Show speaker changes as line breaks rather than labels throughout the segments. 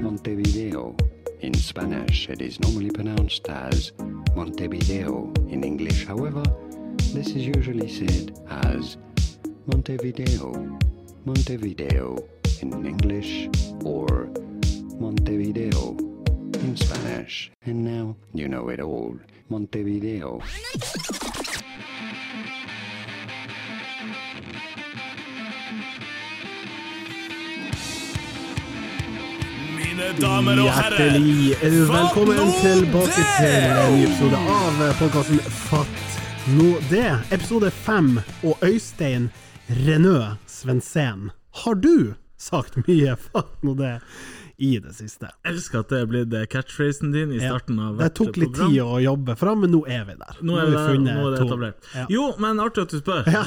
Montevideo. In Spanish, it is normally pronounced as Montevideo. In English, however, this is usually said as Montevideo, Montevideo in English, or Montevideo in Spanish. And now you know it all. Montevideo.
Mine damer og herrer,
Hjertelig eh, velkommen
Fatt nå
tilbake
det!
til en ny episode av podkasten Fatt nå det. Episode fem og Øystein Renø Svendsen. Har du sagt mye fatt nå det i det siste?
elsker at det er blitt eh, catchphrasen din i starten av
det
hvert
tok litt
program.
tid å jobbe fram, men nå er vi der.
Nå er det, nå er det
to.
etablert.
Ja.
Jo, men artig at du spør.
Ja,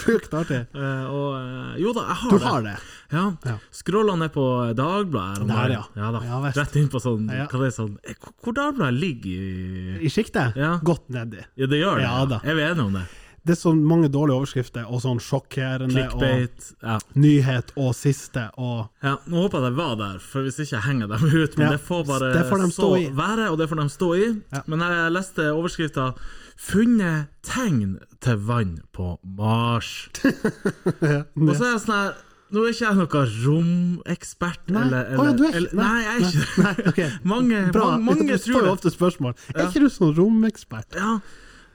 sjukt artig.
Eh, og, eh, jo da, jeg har
Du
det.
har det.
Ja.
Ja.
Scrolla ned på Dagbladet her om
Der,
dagen.
ja.
da.
Ja, visst.
Rett inn på sånn,
Ja.
hva det er sånn eh, hvor- Hvor Dagbladet ligger i
I sjiktet?
Ja.
Godt nedi.
Ja, det gjør det.
Ja, da.
Er vi enige om det?
Det er så mange dårlige overskrifter og sånn sjokkerende og
Clickbait. Ja.
nyhet og siste og
Ja, nå håper jeg de var der, for hvis ikke henger de ut. Men
Ja,
det får bare
det får de stå
så
i.
være, og det får de stå i.
Ja.
Men jeg leste overskrifta 'Funnet tegn til vann på Mars'. Og så er jeg sånn her Nå er ikke jeg noen romekspert,
Nei.
eller,
Å,
eller,
ja, du er ikke-
eller
nei,
Nei, jeg er ikke det.
Nei, ok.
Mange,
Bra.
mange, mange
du får
tror
jo
det.
ofte spørsmål. Er
Ja.
ikke du sånn romekspert?
Ja,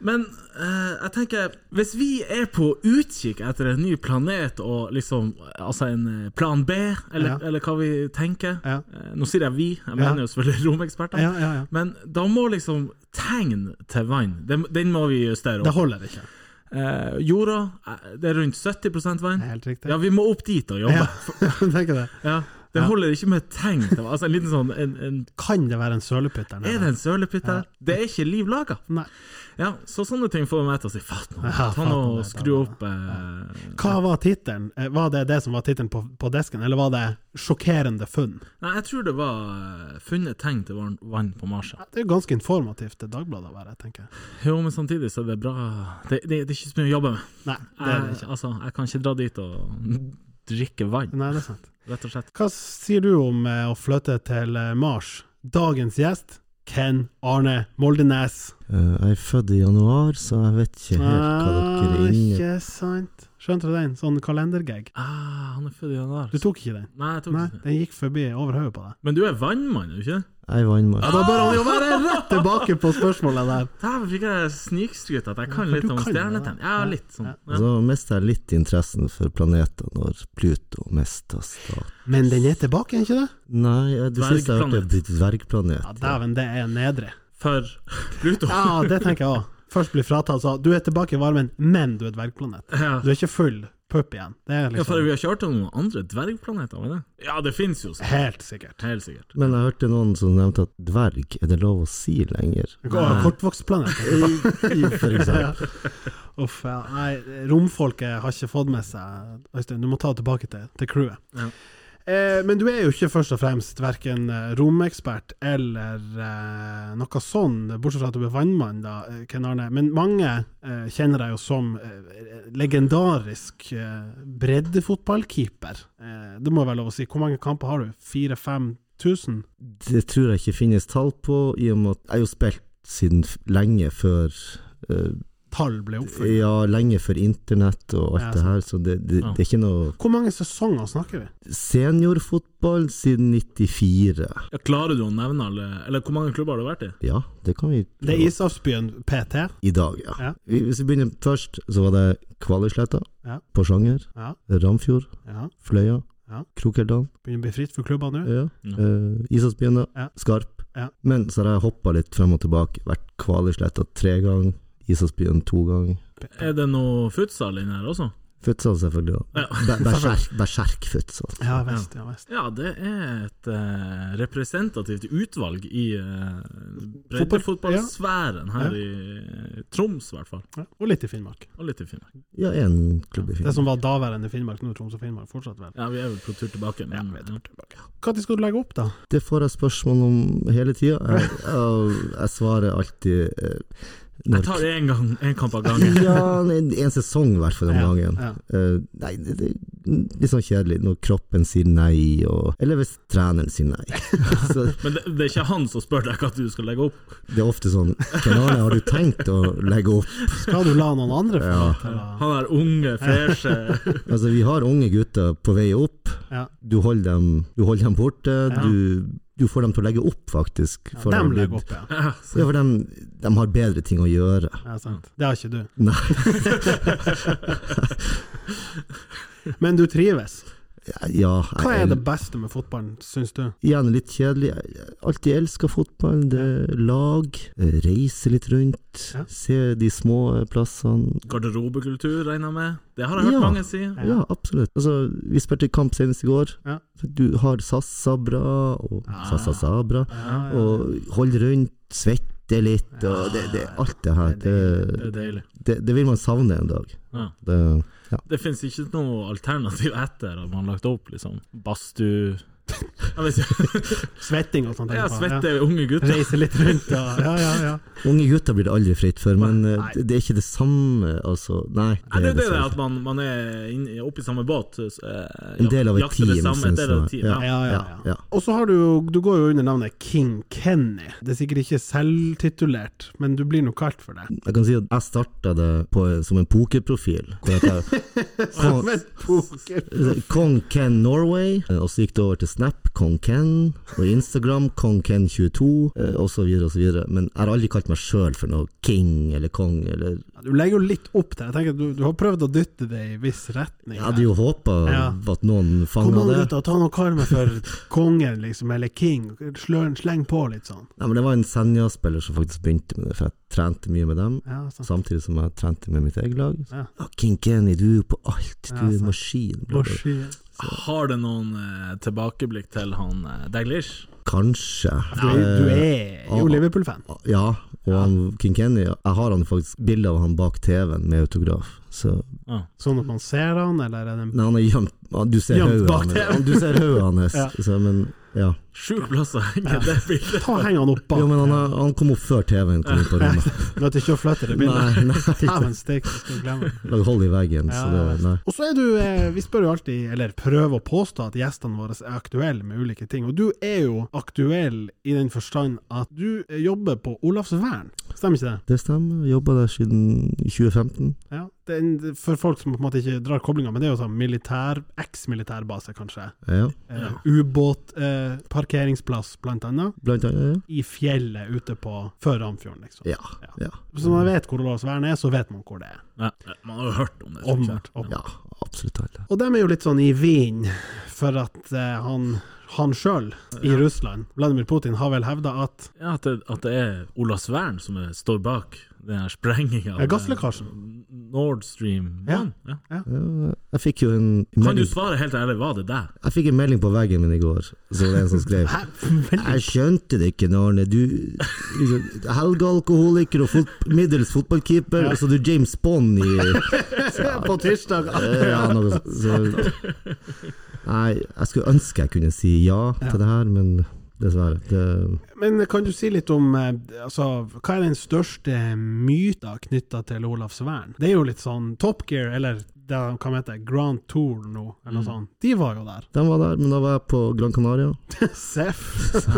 men eh, jeg tenker Hvis vi er på utkikk etter en ny planet og liksom Altså en eh, plan B, eller,
Ja.
eller hva vi tenker
Ja.
eh, Nå sier jeg vi, jeg mener jo selvfølgelig romeksperter.
Ja, ja, ja.
Men da må liksom tegn til vann Den, den må vi justere
Det
opp.
holder ikke.
Eh, jorda, eh, det er rundt 70 vann.
Det er helt riktig.
Ja, vi må opp dit og
Ja,
jobbe.
tenker det.
Ja. Det holder ikke med tegn til vann. Altså en liten sånn en, en,
Kan det være en sølepytt der
Er det en sølepytt der? Det er ikke liv laga.
Nei.
Ja, så sånne ting får meg til å si fatt nå,
Ja,
ta
fatt
nå
nå
og
det,
skru
da,
opp eh.
Hva var tittelen? Eh, Var det det som var tittelen på, på desken, eller var det 'sjokkerende funn'?
Nei, jeg tror det var eh, funnet tegn til vann- vann på Mars. ja.
Det er jo ganske informativt til Dagbladet å være, tenker jeg.
Jo, men samtidig så er det bra Det, det, det er ikke så mye å jobbe med.
Nei, det er det
Jeg,
ikke.
altså, jeg kan ikke dra dit og drikke vann,
Nei, det er sant.
rett og slett.
Hva sier du om eh, å flytte til eh, Mars? Dagens gjest, Ken Arne Moldenes.
Eh, Jeg er født i januar, så jeg vet ikke helt hva dere
Ah,
er inne
ikke sant. Skjønte du den? Sånn kalendergag.
Ah, han er født i januar.
Du tok ikke den?
Nei, jeg tok
Nei,
ikke det.
den gikk forbi over hodet på deg.
Men du er vannmann, er du ikke det?
Jeg er vannmann.
Ja, da bør han jo være rett tilbake på spørsmålet der.
Dæven, fikk jeg snikskryt at jeg kan
for
litt
du
om
kan det,
stjernetegn.
da.
Ja,
Ja,
litt sånn.
ja.
Ja.
Ah! Så mister jeg litt interessen for planeter når Pluto mister stat.
Men den er tilbake, er den ikke det?
Nei, jeg- det siste jeg hørte, er blitt dvergplanet.
Ja, dæven, det er nedre.
For Pluto.
Ja, det tenker jeg òg. Først blir fratatt, så du er tilbake i varmen, men du er dvergplanet.
Ja.
Du er ikke full pupp igjen. Det er
Ja, for
liksom
vi har ikke hørt om noen andre dvergplaneter, men det? Ja, det finnes jo så.
helt sikkert.
Helt sikkert.
Men jeg hørte noen som nevnte at dverg er det lov å si lenger.
Du kan ha Kortvokstplanet.
For eksempel.
Uff, sånn. ja. Nei, romfolket har ikke fått med seg Øystein, du må ta det tilbake til, til crewet.
Ja.
Eh, men du er jo ikke først og fremst verken eh, romekspert eller eh, noe sånn, bortsett fra at du er vannmann, da, eh, Ken Arne. Men mange eh, kjenner deg jo som eh, legendarisk eh, breddefotballkeeper. Eh, det må være lov å si. Hvor mange kamper har du? 4000-5000?
Det tror jeg ikke finnes tall på, i og med at jeg har jo spilt siden f- lenge før eh,
Tall ble oppfylt.
Ja, lenge før internett og
Ja,
alt det her, så det, det, det er ikke noe
Hvor mange sesonger snakker vi?
Seniorfotball siden 94.
Ja, klarer du å nevne alle Eller hvor mange klubber har du vært i?
Ja, det kan vi
Det er
prøve.
Ishavsbyen PT.
i dag, ja.
Ja.
Vi- Hvis vi begynner først, så var det Kvalesletta,
Ja.
Porsanger,
Ja.
Ramfjord,
Ja.
Fløya,
Ja.
Krokerdal,
Begynner å bli fritt for klubber nå.
ja.
Ja.
eh, Ishavsbyen, da,
Ja.
Skarp.
Ja.
Men så har jeg hoppa litt frem og tilbake. Vært Kvalesletta tre ganger, Ishavsbyen to ganger.
Er det noe futsal inne her også?
Futsal, selvfølgelig. da.
Ja.
Be- berserk- Berserk-futsal.
Ja visst, ja visst.
Ja, det er et eh, representativt utvalg i uh, breddefotballsfæren her i eh, Troms, i hvert fall.
Ja. Og litt i Finnmark.
Og litt i Finnmark.
Ja, én klubb i
Det
Finnmark.
som var daværende Finnmark, nå Troms og Finnmark, fortsatt vel.
Ja, vi er vel på tur tilbake. Men,
Ja, vi er på Når skal du legge opp, da?
Det får jeg spørsmål om hele tida. Jeg, jeg, jeg svarer alltid eh,
Jeg tar én gang, en kamp av gangen.
Ja, en, en sesong i hvert fall om
Ja,
gangen.
ja.
Eh, nei, det, det er litt sånn kjedelig når kroppen sier nei, og Eller hvis treneren sier nei. Så
Men det, det er ikke han som spør deg hva du skal legge opp.
det er ofte sånn Ken Arne, har du tenkt å legge opp?
Skal du la noen andre få
Ja.
lov til å
Han er unge, freshe
Altså, vi har unge gutter på vei opp.
Ja.
Du holder dem, du holder dem borte.
Ja.
Du, du får dem til å legge opp, faktisk. for
Dem
de-
legger opp, ja.
Ja,
Ja, for de, de har bedre ting å gjøre.
ja sant. Det har ikke du.
Nei,
Men du trives.
ja
Hva er
jeg-
det beste med fotballen, syns du?
Igjen litt kjedelig. Jeg Alltid elska fotballen. Det er lag. eh, Reise litt rundt.
Ja.
Se de små eh, plassene.
Garderobekultur, regner jeg med. Det har jeg hørt
Ja.
mange si.
Ja.
Ja, absolutt. Altså, vi spilte kamp senest i går.
Ja.
Du har SAS Sabra og
Ah.
Sassa Sabra.
Ja, ja.
Og hold rundt, svette litt og det, det, alt det her.
Det
Det,
er
Det er deilig.
det, det vil man savne en dag.
Ja.
Det,
Det finnes ikke noe alternativ etter at man har lagt opp, liksom. Badstue Jeg vet ikke.
Svetting og sånt.
Jeg
tenker jeg på.
svetter unge
Ja.
gutter.
Reise litt rundt og Ja, ja, ja.
unge gutter blir det aldri fritt for, men eh,
Nei.
det, det er ikke det samme, altså.
Nei,
Nei.
det er jo det
dessverre
at man, man er inne- oppe i samme båt. så, eh,
En del av et
jakter det
team,
samme, en
synes
del av et
jeg.
team, ja.
Ja, ja, ja.
Ja, ja.
Og så har du jo Du går jo under navnet King Kenny. Det er sikkert ikke selvtitulert, men du blir nå kalt for det.
Jeg kan si at jeg starta det på, som en pokerprofil. hvor at jeg- Kong,
Men poker
Kong Ken Norway, eh, og så gikk det over til Snap, Kong Ken, og Instagram, Kong Ken22, eh, og så videre og så videre. Men jeg har aldri kalt meg sjøl for noe king eller kong eller
Du legger jo litt opp til det. Jeg tenker at du, du har prøvd å dytte det i viss retning.
Jeg hadde jo håpa
Ja.
at noen
Kom an,
fanga det.
gutta, ta noen kalmer for kongen, liksom, eller king. Slør, sleng på litt sånn.
Nei, men det var en Senja-spiller som faktisk begynte med det, for jeg trente mye med dem.
Ja, sant.
Samtidig som jeg trente med mitt eget lag.
Ja.
Ja, King Kenny, du er jo på alt, du
Ja,
er
sant.
en maskin. bla, bla, bla.
Maskin.
Har det noen eh, tilbakeblikk til han eh, Daglish?
Kanskje.
Du, er- du er jo
Ah.
Liverpool-fan.
Ja, og han, King Kenny Jeg har han faktisk bilde av han bak TV-en med autograf. Så
Sånn at man ser han, eller er det en
Nei, han er gjemt ja, Du ser
Gjemt
hodet
bak
hans.
TV.
Ja, Du ser hodet hans.
Ja.
Så, Men ja.
Sjuk plass å henge det bildet.
Ta Heng han opp bak.
Jo, men han, er- han kom opp før TV-en kom inn på rommet.
Du vet ikke å flytte det bildet.
Nei, nei.
Dæven steike, skal du glemme.
Lag hold i veggen, så det
Ja,
Nei.
Og så er du, eh, vi spør jo alltid, eller prøver å påstå at gjestene våre er aktuelle med ulike ting, og du er jo aktuell i den forstand at du eh, jobber på Olavsvern, stemmer ikke det?
Det stemmer. Jobba der siden 2015.
Ja, det er en, For folk som på en måte ikke drar koblinga, men det er jo sånn militær, eks-militærbase, kanskje.
Ja,
Eh,
Ja.
Ubåtparkeringsplass, eh, parkeringsplass, blant annet.
blant annet.
I fjellet ute på før Ramfjorden, liksom.
Ja. Ja.
Så når man vet hvor Olavsvern er, så vet man hvor det er.
Ja. Man har jo hørt om det. tror jeg.
Åpenbart. åpenbart.
ja. ja absolutt alle.
Og de er jo litt sånn i vinden for at eh, han, han sjøl i Russland, Vladimir Putin, har vel hevda at
Ja, at det, at det er Olavsvern som er, står bak den sprenginga.
Ja, gasslekkasjen.
eh, Nord Stream
Ja.
1. Ja.
Ja, jeg fikk jo en
Kan du
melding,
svare helt ærlig, var det deg?
jeg fikk en melding på veggen min i går, så var det en som skrev
Hæ?
Jeg skjønte det ikke, Arne. Du liksom, helgealkoholiker og fot middels fotballkeeper, og så du James Bond i
På tirsdag!
Eh, ja, noe så, så. Nei, jeg skulle ønske jeg kunne si ja til det her, men dessverre. Det,
Men kan du si litt om eh, altså, Hva er den største myta knytta til Olavsvern? Det er jo litt sånn Top Gear, eller det de kan hete Grand Tour nå, eller noe sånt. De var jo der.
den var der, men da var jeg på Gran Canaria,
Seff.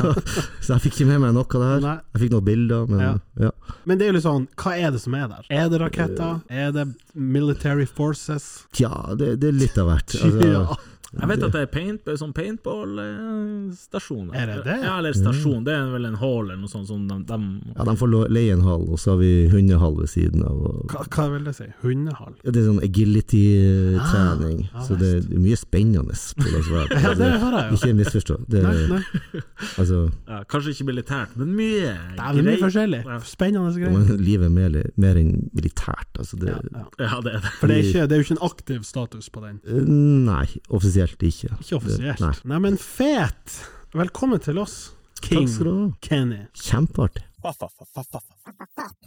så jeg fikk ikke med meg noe av det her.
Nei.
Jeg fikk noen bilder, men
Ja.
ja.
Men det er jo litt sånn, hva er det som er der? Er det raketter? Er det military forces?
Tja, det, det er litt av hvert.
Ja.
Altså,
Jeg vet at det er paint, sånn paintball-stasjon.
Er det Mm. det?
Ja, eller stasjon. Det er vel en hall eller noe sånt som de, de
ja, de får lo- leie en hall, og så har vi hundehall ved siden av. Og
Hva, hva vil det si? Hundehall?
Ja, det er sånn agility-trening,
Ah, ja,
så det er mye spennende. på det som er.
Ja, det hører jeg jo.
Ikke misforstå. Det,
Nei, nei.
altså,
ja, Kanskje ikke militært, men mye
Det er mye
greit.
forskjellig.
Ja.
Spennende greier.
men livet er mer, mer enn militært. Altså det,
Ja, ja.
Ja, det er det.
For det er, ikke, det er jo ikke en aktiv status på den.
Eh, Nei, offisielt ikke.
Ikke offisielt.
Det, nei.
Nei, men fet! Velkommen til oss, King
Takk skal du ha.
Kenny.
Kjempeartig.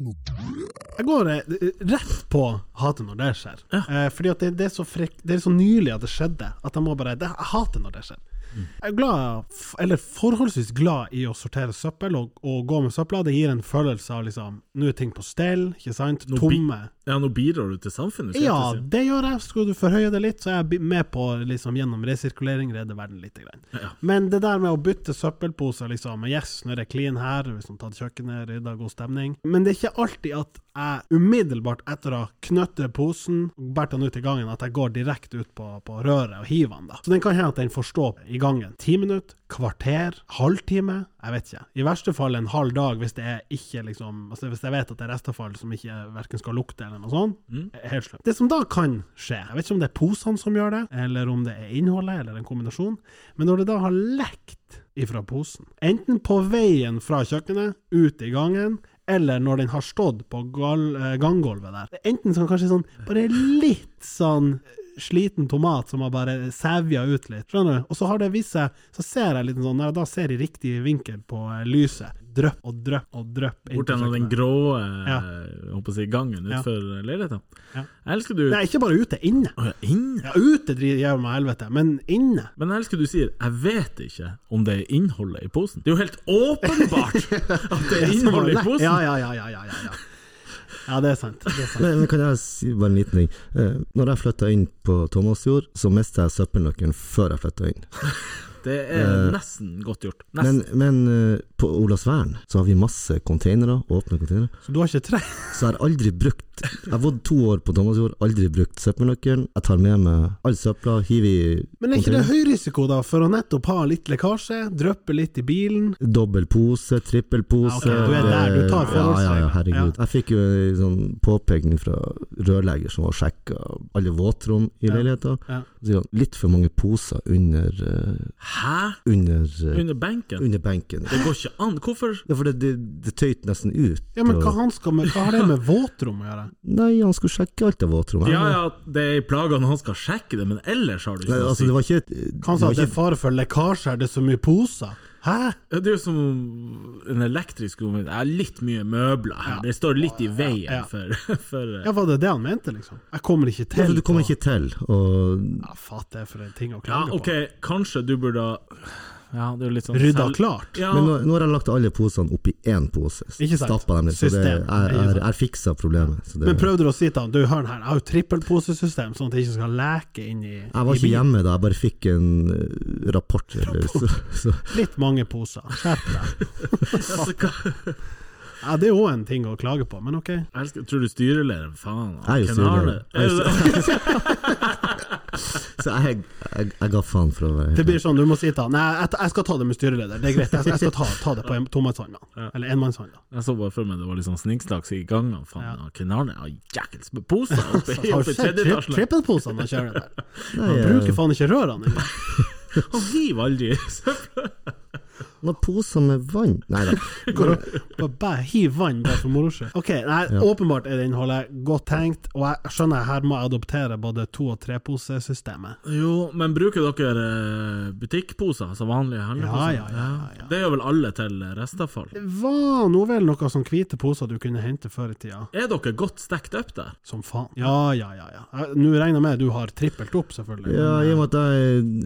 Jeg går eh, rett på hatet når det skjer. Eh, fordi at det, det, er så frekk, det er så nylig at det skjedde, at jeg må bare det, Jeg hater når det skjer.
Mm.
Jeg er glad, f- eller forholdsvis glad i å sortere søppel og, og gå med søpla. Det gir en følelse av liksom Nå er ting på stell, ikke sant?
Nå bi-
Tomme.
Ja, nå bidrar du til samfunnet. skal jeg
Ja,
til å si.
det gjør jeg. Skal du forhøye det litt, så er jeg bi- med på liksom, gjennom resirkulering redde verden litt. Grann. Men det der med å bytte søppelposer, liksom Yes, nå er det clean her, liksom, tatt kjøkkenet, rydda, god stemning. Men det er ikke alltid at jeg umiddelbart etter å ha knøttet posen og båret den ut i gangen, at jeg går direkte ut på, på røret og hiver den. da. Så den kan hende at den får stå i gangen. Ti minutter, kvarter, halvtime, jeg vet ikke. I verste fall en halv dag, hvis det er ikke liksom altså Hvis jeg vet at det er restavfall som ikke verken skal lukte eller noe sånt. er Helt slutt. Det som da kan skje, jeg vet ikke om det er posene som gjør det, eller om det er innholdet, eller en kombinasjon, men når det da har lekt ifra posen, enten på veien fra kjøkkenet, ut i gangen, eller når den har stått på gal, eh, ganggulvet der. Det er Enten sånn, kanskje sånn, bare litt sånn sliten tomat som har bare sævja ut litt, skjønner du? Og så har det vist seg, så ser jeg litt sånn, når jeg da ser i riktig vinkel på eh, lyset, drøpp og drøpp og drøpp. inn
Bort
på
gjennom den
kjøkkenet.
grå eh,
Ja.
si, gangen
Ja.
utenfor leiligheten.
Ja.
Jeg elsker du
Nei, ikke bare ute, inne.
Å, ja, inn?
Ja, ute driver jeg meg helvete, men inne.
Men jeg elsker du sier 'jeg vet ikke om det er innholdet i posen'. Det er jo helt åpenbart at det er innholdet i posen!
Ja, ja, ja, ja, ja, ja, ja. Ja, det er sant. Det er sant.
Men, men kan jeg si bare en liten ting? Eh, Når jeg flytta inn på Thomasjord, så mista jeg søppelnøkkelen før jeg flytta inn.
Det
Eh,
er nesten godt gjort. Nesten.
Men, men eh, på Olavsvern så har vi masse containere, åpne containere,
Så du har ikke tre?
så jeg har aldri brukt Jeg har bodd to år på Thomasjord, aldri brukt søppelnøkkelen. Jeg tar med meg all søpla, hiver i
Men er ikke det
containeren.
høy risiko, da, for å nettopp ha litt lekkasje, dryppe litt i bilen?
Dobbel pose, trippel pose
Ja, Ah, ok, du er der, du tar
det-
forholdsregler.
Ja, ja, ja, herregud. Jeg fikk jo en sånn påpekning fra rørlegger som var sjekka alle våtrom i leiligheta.
ja.
Så sier han litt for mange poser under eh,
Hæ?
under, eh,
Under benken?
under benken.
Det går ikke an. Hvorfor
Ja, for det, det, det tøyt nesten ut.
Ja, men
og-
hva, han skal med, hva har det med våtrom å gjøre?
Nei, han skulle sjekke alt av våtrommet.
Ja ja, det er i plagene han skal sjekke det, men ellers har du ikke
Nei,
noe å
altså,
si.
det var ikke et-
Han sa
det
at det
var
er fare for lekkasje, er det så mye poser? Hæ?
Ja, Det er jo som en elektrisk ovn. Det er litt mye møbler her. Det står litt i veien
Ja.
for, for eh,
Ja, var det det han mente, liksom? Jeg kommer ikke
ikke,
til
altså, Du kommer
på-
ikke til, og
Ja, fatt, det er for en ting å
Ja,
klage
OK, kanskje du burde Ja, det er jo litt sånn
på. Rydda
selv-
klart.
Ja,
Men nå, nå har jeg lagt alle posene oppi én pose.
Ikke sant.
Stappa dem litt. Så det,
System.
jeg, jeg, jeg fiksa problemet. Så det,
Men prøvde du å si til han Du, hør her, jeg har jo trippelposesystem, sånn at det ikke skal leke inn i
jeg var
i
ikke
bilen.
hjemme da, jeg bare fikk en eh, rapport. Eller, så, så.
Litt mange poser. Skjerp deg.
altså, hva-
Ja, det er jo en ting å klage på, men ok.
Jeg elsker- tror du styrelederen Faen.
Jeg er jo
hvem har det?
styreleder. Jeg
Er
er jo
det-
så jeg, jeg, jeg ga faen for å være
Det
helt
blir sånn, du må si til han Nei, jeg, jeg skal ta det med styreleder, det er greit. Jeg, jeg skal ta, ta det på en tomannshånd, da. Eller enmannshånd, da.
Jeg så bare for meg det var litt sånn snikksnakks i gangen. Faen, ja. Ken Arne har jækels med poser oppi
Har
oppi tredje
du sett tri-
etasje.
trippelposene han kjører der?
Nei,
Han
eh,
bruker faen ikke rørene engang.
Han hiver aldri søppel.
Noen eh, poser med vann Nei da.
Går og bare bæ- hiver vann bare for moro skyld. Ok, nei, åpenbart er det innholdet godt tenkt, og jeg skjønner her må jeg adoptere både to- og treposesystemet.
Jo, men bruker dere eh, butikkposer, altså vanlige handleposer?
Ja, ja, ja, ja, ja.
Det gjør vel alle til eh, restavfall?
Det var nå vel noe sånn hvite poser du kunne hente før i tida.
Er dere godt stekt opp der?
Som faen. Ja, ja, ja. ja. Jeg- Nå regner jeg med du har trippelt opp, selvfølgelig.
Ja, I og med at jeg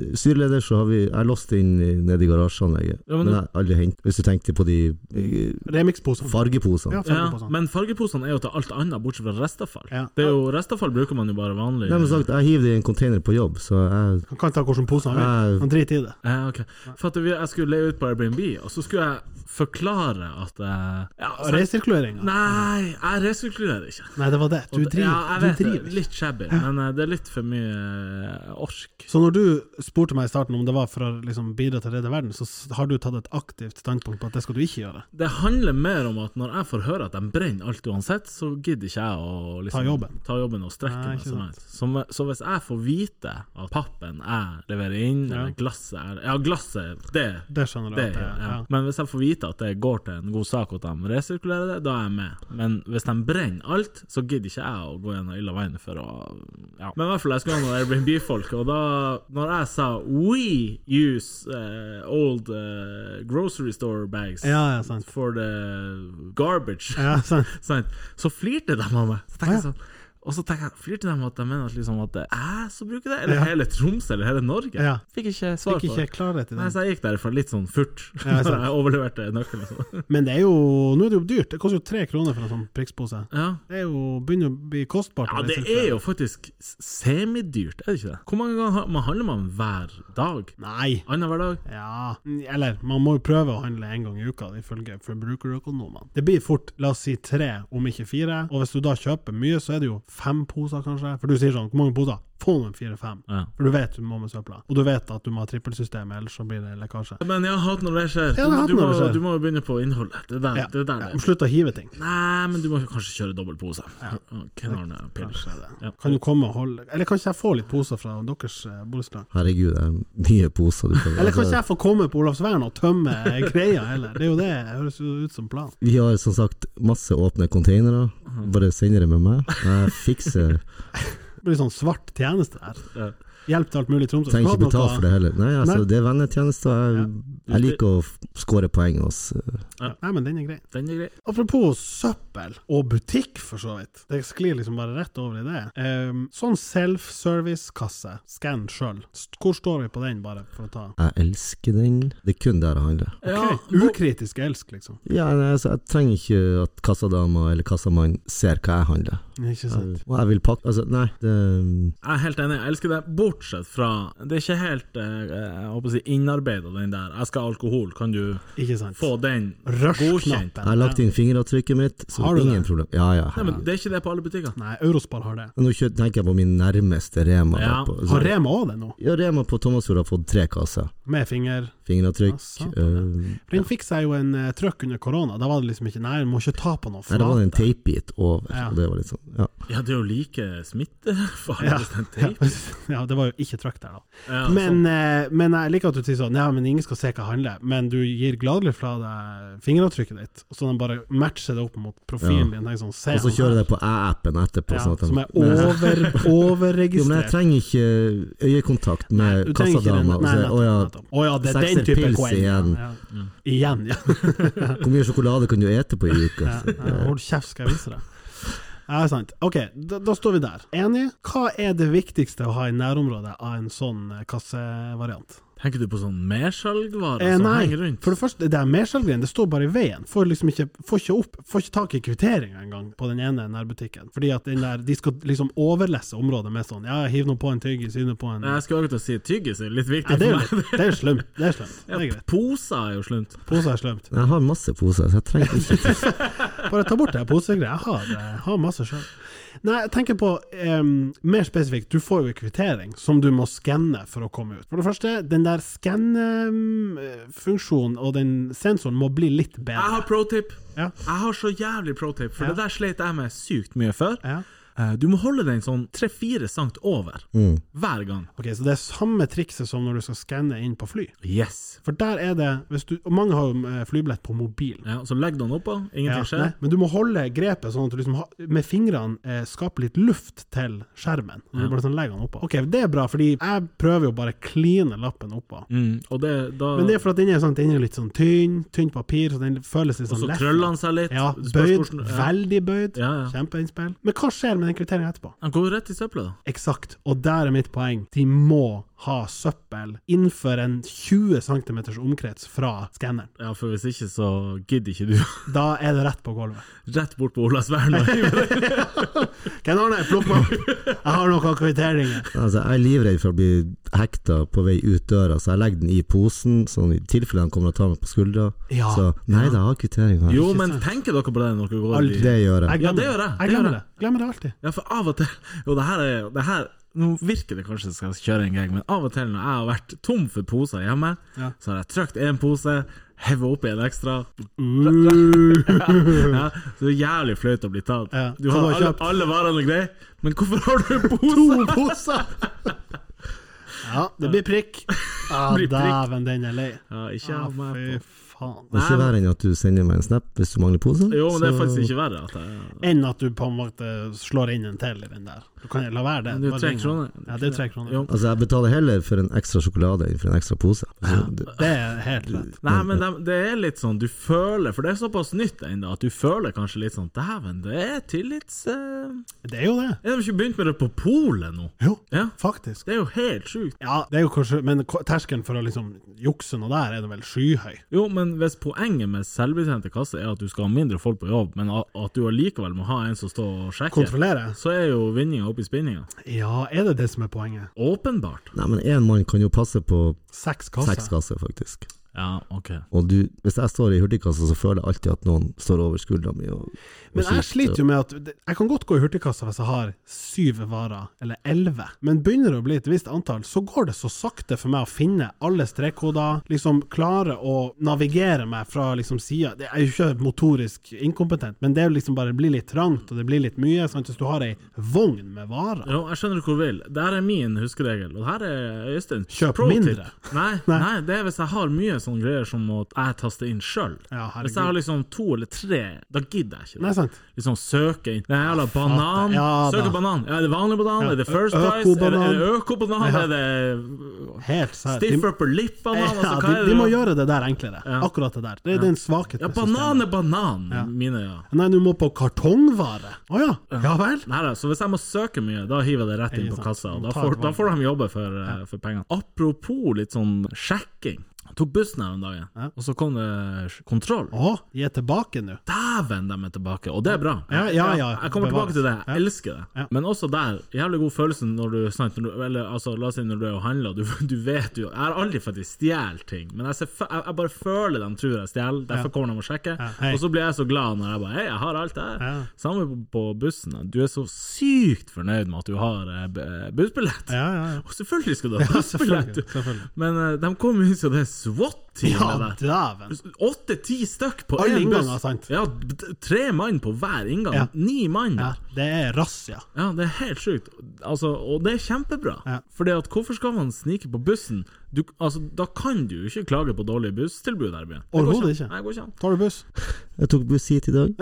er styreleder, så har vi Jeg låste inn i- nede i garasjeanlegget.
Ja, men
men
du-
jeg har aldri hent Hvis du tenkte på de eh,
Remix-posene.
fargeposene.
Ja, sånn.
Ja,
50%.
men fargeposene er jo til alt annet, bortsett fra restavfall.
Ja.
Det er jo, restavfall bruker man jo bare vanlig.
Nei, men sagt, jeg hiver det i en container på jobb, så jeg
Han kan ta hvilken pose han
Nei.
vil. Han driter i det.
Ja, ok. For at vi- jeg skulle leie ut på Airbnb, og så skulle jeg forklare at eh, ja, så-
Resirkuleringa? Nei.
Nei, jeg resirkulerer ikke.
det var det. Du
Og det-
driver.
ja, jeg
du
vet
driver.
det. Litt shabby, men eh, det er litt for mye eh, ork.
Så når du spurte meg i starten om det var for å liksom bidra til å redde verden, så s- har du tatt et aktivt standpunkt på at det skal du ikke gjøre.
Det handler mer om at når jeg får høre at de brenner alt uansett, så gidder ikke jeg å liksom,
Ta jobben.
ta jobben og strekke
Nei,
meg.
ikke
Sånn her. Som- så hvis jeg får vite at pappen jeg leverer inn, eller glasset jeg Ja, glasset, det
Det skjønner du.
Det,
at det,
ja.
ja.
Men hvis jeg får vite at det går til en god sak og at de resirkulerer det, da er jeg med. Men hvis de brenner alt, så gidder ikke jeg å gå gjennom ille veien for å ja. Men i hvert fall, jeg skulle ha noen Airbnb-folk, og da når jeg sa 'we use eh, old eh, eh, grocery store bags
Ja, ja, sant.
for the garbage.
Ja, sant.
sant? Så flirte de av meg. Så tenker jeg
Ja.
sånn og så tenker jeg, flirte de at de mener at, liksom, at det er jeg som bruker det, eller
Ja.
hele Tromsø, eller hele Norge?
Ja.
Fikk ikke svar
Fikk ikke
på det.
klarhet i
Nei,
det.
så jeg gikk derfra litt sånn furt.
Ja, sant.
jeg overleverte nøkkelen. og sånn.
Men det er jo, nå er det jo dyrt. Det koster jo tre kroner for en sånn prikspose.
Ja.
Det er jo, begynner å bli kostbart.
ja, det er jo faktisk s- semidyrt, er det ikke det? Hvor mange ganger ha- man handler man hver dag?
Nei.
Annenhver dag?
Ja Eller, man må jo prøve å handle en gang i uka, ifølge forbrukerøkonomene. Det blir fort, la oss si tre, om ikke fire. Og hvis du da kjøper mye, så er det jo fem poser, kanskje. For du sier sånn, hvor mange poser? Få noen fire-fem.
Ja.
For du vet du må med søpla. Og du vet at du må ha trippelsystem, ellers så blir det lekkasje.
Men ja, hat når det skjer.
Ja, det er hat
du, må,
når det skjer.
du må jo begynne på innholdet. Det er der
Ja,
det, er der
ja,
det. er.
Slutt å hive ting.
Nei, men du må kanskje kjøre dobbel pose. Ja. Knarne piller.
Kanskje det.
Ja.
Kan du komme og holde Eller kan ikke jeg få litt poser fra deres eh, borettslag?
Herregud, det er mye poser du kan
Eller kan ikke
altså,
jeg få komme på Olavsvern og tømme greia heller? Det er jo det, det høres jo ut som plan.
Vi har som sagt masse åpne containere. Bare sender det med meg. Jeg fikser
Det blir sånn svart tjeneste her.
Ja.
Hjelp til alt mulig i Tromsø.
Trenger ikke
Skal
betale
dere-
for det heller. Nei, altså,
Nei.
det er vennetjenester. Jeg, jeg liker å f- score poeng hos eh,
Ja. Nei, men den er grei.
Den er grei.
Apropos søppel og butikk, for så vidt. Det sklir liksom bare rett over i det. Ehm, sånn self-service-kasse, skann sjøl. Hvor står vi på den, bare for å ta
Jeg elsker den. Det er kun der jeg handler.
Ja,
Ok, Ukritisk elsk, liksom.
Ja, nei, altså, jeg trenger ikke at kassadama eller kassamann ser hva jeg handler.
Ikke sant?
Og jeg vil pakke Altså, nei, det
Jeg er helt enig, jeg elsker det, bortsett fra Det er ikke helt eh, jeg håper å si, innarbeida, den der 'jeg skal ha alkohol', kan du
Ikke sant?
få den godkjent?
Rush-knappen.
Jeg har lagt inn fingeravtrykket mitt, så
Har du
ingen
det?
problem. Ja, ja.
Nei, men Det er ikke det på alle butikker.
Nei, Eurospar har det.
Nå kjø- tenker jeg på min nærmeste Rema. da,
Ja.
på, så-
Har Rema òg det nå?
ja, Rema på Thomasfjord har fått tre kasser.
Med finger.
Fingeravtrykk.
Ja, sant,
øh,
For Den fikk seg jo en uh, trøkk under korona. Da var det liksom ikke Nei, du må ikke ta på noe
nei, da var det en
flate.
teipbit over.
Ja.
Og det var litt sånn, ja.
Ja, det er jo like smittefarlig
Ja.
hvis den
Ja,
teiper.
ja, det var jo ikke trøkk der, da.
Ja, altså,
sånn.
Men, eh, men jeg liker at du sier sånn Ja, men ingen skal se hva jeg handler, men du gir gladelig fra deg fingeravtrykket ditt, og så de bare matcher det opp mot profilen din. Tenker sånn, se
Og så
han
kjører
her.
jeg det på æ-appen etterpå.
ja,
sånn at de-
Som er
Men-
over,
Jo, men jeg
overregistrert.
trenger ikke øyekontakt med
Du trenger ikke den.
kassadama. og
Nei,
så-
nettopp,
Å ja,
nettopp. Å ja, det er den
sekser
type
pils
poeng. ja,
igjen.
ja. Igjen, ja.
hvor mye sjokolade kan du ete på i uka?
Ja, ja, Hold kjeft, skal jeg vise deg. Ja, sant. Ok, da, da står vi der. Enig? Hva er det viktigste å ha i nærområdet av en sånn eh, kassevariant?
Tenker du på sånn mersalgvarer
Eh,
som
nei,
henger rundt?
for det første, det er mersalgreien. Det står bare i veien. Får liksom ikke, får ikke opp, får ikke tak i kvitteringa engang på den ene nærbutikken. Fordi at den der, de skal liksom overlesse området med sånn ja, hiv nå på en tyggis, hiv nå på en
Nei, Jeg skulle akkurat til å si tyggis er litt viktig
Ja, det er jo
for meg.
litt- det er jo slemt. Det er slemt. Det er greit.
Poser er jo slunt.
Poser er slemt.
Jeg har masse poser, så jeg trenger ikke
Bare ta bort det her posegreiet. Jeg har, jeg har masse sjøl. Nei, jeg tenker på em, mer spesifikt. Du får jo en kvittering som du må skanne for å komme ut. For det første, den der skannefunksjonen og den sensoren må bli litt
Jeg har
bedre.
pro tip.
Ja.
Jeg har så jævlig pro tip, for
Ja.
det der sleit jeg med sykt mye før.
Ja.
Eh, Du må holde den sånn 3-4 sankt over hver gang.
Ok, Så det er samme trikset som når du skal skanne inn på fly.
Yes.
For der er det hvis du, Og mange har jo eh, flybillett på mobilen.
Ja, så legg den oppå,
Ja,
ingenting
nei,
skjer.
men du må holde grepet sånn at du liksom ha, med fingrene eh, skaper litt luft til skjermen. Du bare sånn legger den oppå. Ok, Det er bra, fordi jeg prøver jo bare å kline lappen oppå.
Mm, og det, da
Men det er for at den er, sånn, den er litt sånn tynn, tynt papir, så den føles litt
Og
sånn
så
lett.
krøller han seg litt.
Ja,
Spørs
bøyd.
hvordan- ja.
Veldig bøyd.
Ja, ja.
Kjempeinnspill. Men hva skjer med den kvitteringen etterpå?
Han går jo rett i søpla, da.
Eksakt, og der er mitt poeng. De må ha søppel innenfor en 20 cm omkrets fra skanneren.
Ja, for hvis ikke, så gidder ikke du.
Da er det rett på gulvet.
Rett bort på Olavsvern. og-
Ken Arne, plukk meg opp! Jeg har noen kvitteringer.
Altså, Jeg er livredd for å bli hekta på vei ut døra, så jeg legger den i posen, sånn i tilfelle han kommer og tar meg på skuldra.
Ja.
Så nei da, jeg har kvittering her.
Jo, men tenker dere på det når dere går i
Det gjør jeg.
Jeg
Ja, det
glemmer
gjør jeg.
Jeg
Det gjør
glemmer
jeg.
det. Glemmer det alltid.
Ja, for av og til Og det her er det her, Nå virker det kanskje som jeg skal kjøre en gag, men av og til når jeg har vært tom for poser hjemme,
Ja.
så har jeg trykt én pose, hevet oppi en ekstra ja, Så det er jævlig flaut å bli tatt.
Ja,
Du har
hva du har
alle,
kjøpt?
alle varene og greier, men hvorfor har du poser?
poser! Ja, det blir prikk. Ja,
Blir prikk.
dæven, den er lei.
Ja, ikke
Ja,
av meg
Ah, fy
på.
faen.
Det er ikke
Nei.
verre enn at du sender meg en snap hvis du mangler pose.
Jo, men det er
så-
faktisk ikke verre. At jeg,
Enn at du på en måte slår inn en til i den der. Du kan jo la være det.
Men det er jo
bare
tre
ring.
kroner.
Ja, det er tre kroner.
Jo.
Altså, jeg betaler heller for en ekstra sjokolade enn for en ekstra pose. Altså, det,
Det er helt rett.
Nei, men det, det er litt sånn du føler For det er såpass nytt ennå at du føler kanskje litt sånn Dæven, det er tillits... Eh,
Det er jo det.
er de ikke begynt med det på polet nå?
Jo,
Ja.
faktisk.
Det er jo helt sjukt.
Ja, det er jo kanskje, men ko- terskelen for å liksom jukse noe der er det vel skyhøy.
Jo, men hvis poenget med selvbetjente kasser er at du skal ha mindre folk på jobb, men a- at du allikevel må ha en som står og sjekker,
Kontrollere?
så er jo vinninga oppe i spinninga.
Ja, er det det som er poenget?
Åpenbart.
Nei, men én mann kan jo passe på
Seks
seks
kasser?
kasser, faktisk.
Ja, OK.
Og du, hvis jeg står i hurtigkassa, så føler jeg alltid at noen står over skuldra mi. Og,
Men jeg sliter jo med at Jeg kan godt gå i hurtigkassa hvis jeg har syv varer, eller elleve, men begynner det å bli et visst antall, så går det så sakte for meg å finne alle strekkoder, liksom klare å navigere meg fra liksom sida Jeg er jo ikke motorisk inkompetent, men det er jo liksom bare det blir litt trangt, og det blir litt mye, sant, hvis du har ei vogn med varer.
Jo, jeg skjønner hvor du vil. Der er min huskeregel, og her er Øysteins
Kjøp
pro tip.
mindre.
Nei,
Nei.
nei. det er hvis jeg har mye sånne greier som at jeg taster inn sjøl.
Ja, herregud.
hvis jeg har liksom to eller tre, da gidder jeg ikke.
Nei, sant?
Liksom søke inn Den jævla banan.
Ja, da.
søke banan. Ja, er det vanlig banan?
Ja,
Er det First
ø-
Price? Er det, er det
økobanan.
økobanan?
Ja.
Er det
Helt sær.
Stiff Upper Lip-banan? Altså,
Eh, Ja,
hva
de,
er
de
det?
må gjøre det der enklere. Akkurat det der. Det, det er en svakhet.
Ja,
med
banan
systemet.
er banan, mine ja.
Nei, du må på kartongvare. Å ja. Ja vel.
Nei, da, så Hvis jeg må søke mye, da hiver jeg det rett inn
Ikke
på
sant.
kassa. og
Du
Da
tar
får,
et valg.
da får de jobbe for, eh, for pengene. Apropos litt sånn sjekking. Jeg tok bussen her om dagen, og så kom det sj- kontroll.
Å, de er tilbake nå.
Dæven, de er tilbake, og det er bra.
Ja, ja, ja.
Jeg kommer tilbake til det, jeg
Ja.
elsker det.
Ja.
Men også der, jævlig god følelse når du, sant, når du Eller altså, la oss si når du er og handler, du, du vet jo Jeg har aldri faktisk stjålet ting, men jeg, ser, f- jeg, jeg bare føler de tror jeg stjeler, derfor kommer de og sjekker.
Ja, hei.
Og så blir jeg så glad når jeg bare Hei, jeg har alt det her.
Ja.
Samme på, på bussen. Du er så sykt fornøyd med at du har eh, b- bussbillett.
Ja, ja, ja.
Og selvfølgelig skal du ha bussbillett!
selvfølgelig, selvfølgelig.
Men eh, de kom jo inn som det SWAT-teamet
Ja,
der.
dæven.
Åtte-ti stykk på
Alle
én buss.
innganger, sant?
Ja, d- d- tre mann på hver inngang.
Ja.
Ni mann.
Ja,
Ja.
det er razzia.
Det er helt sjukt. Altså, og det er kjempebra.
Ja.
Fordi at hvorfor skal man snike på bussen? Du, altså, da kan du jo ikke klage på dårlige busstilbud her i byen. Det går
Overhodet
an.
ikke.
Nei, det går ikke an.
Tar du buss?
Jeg tok buss hit i dag.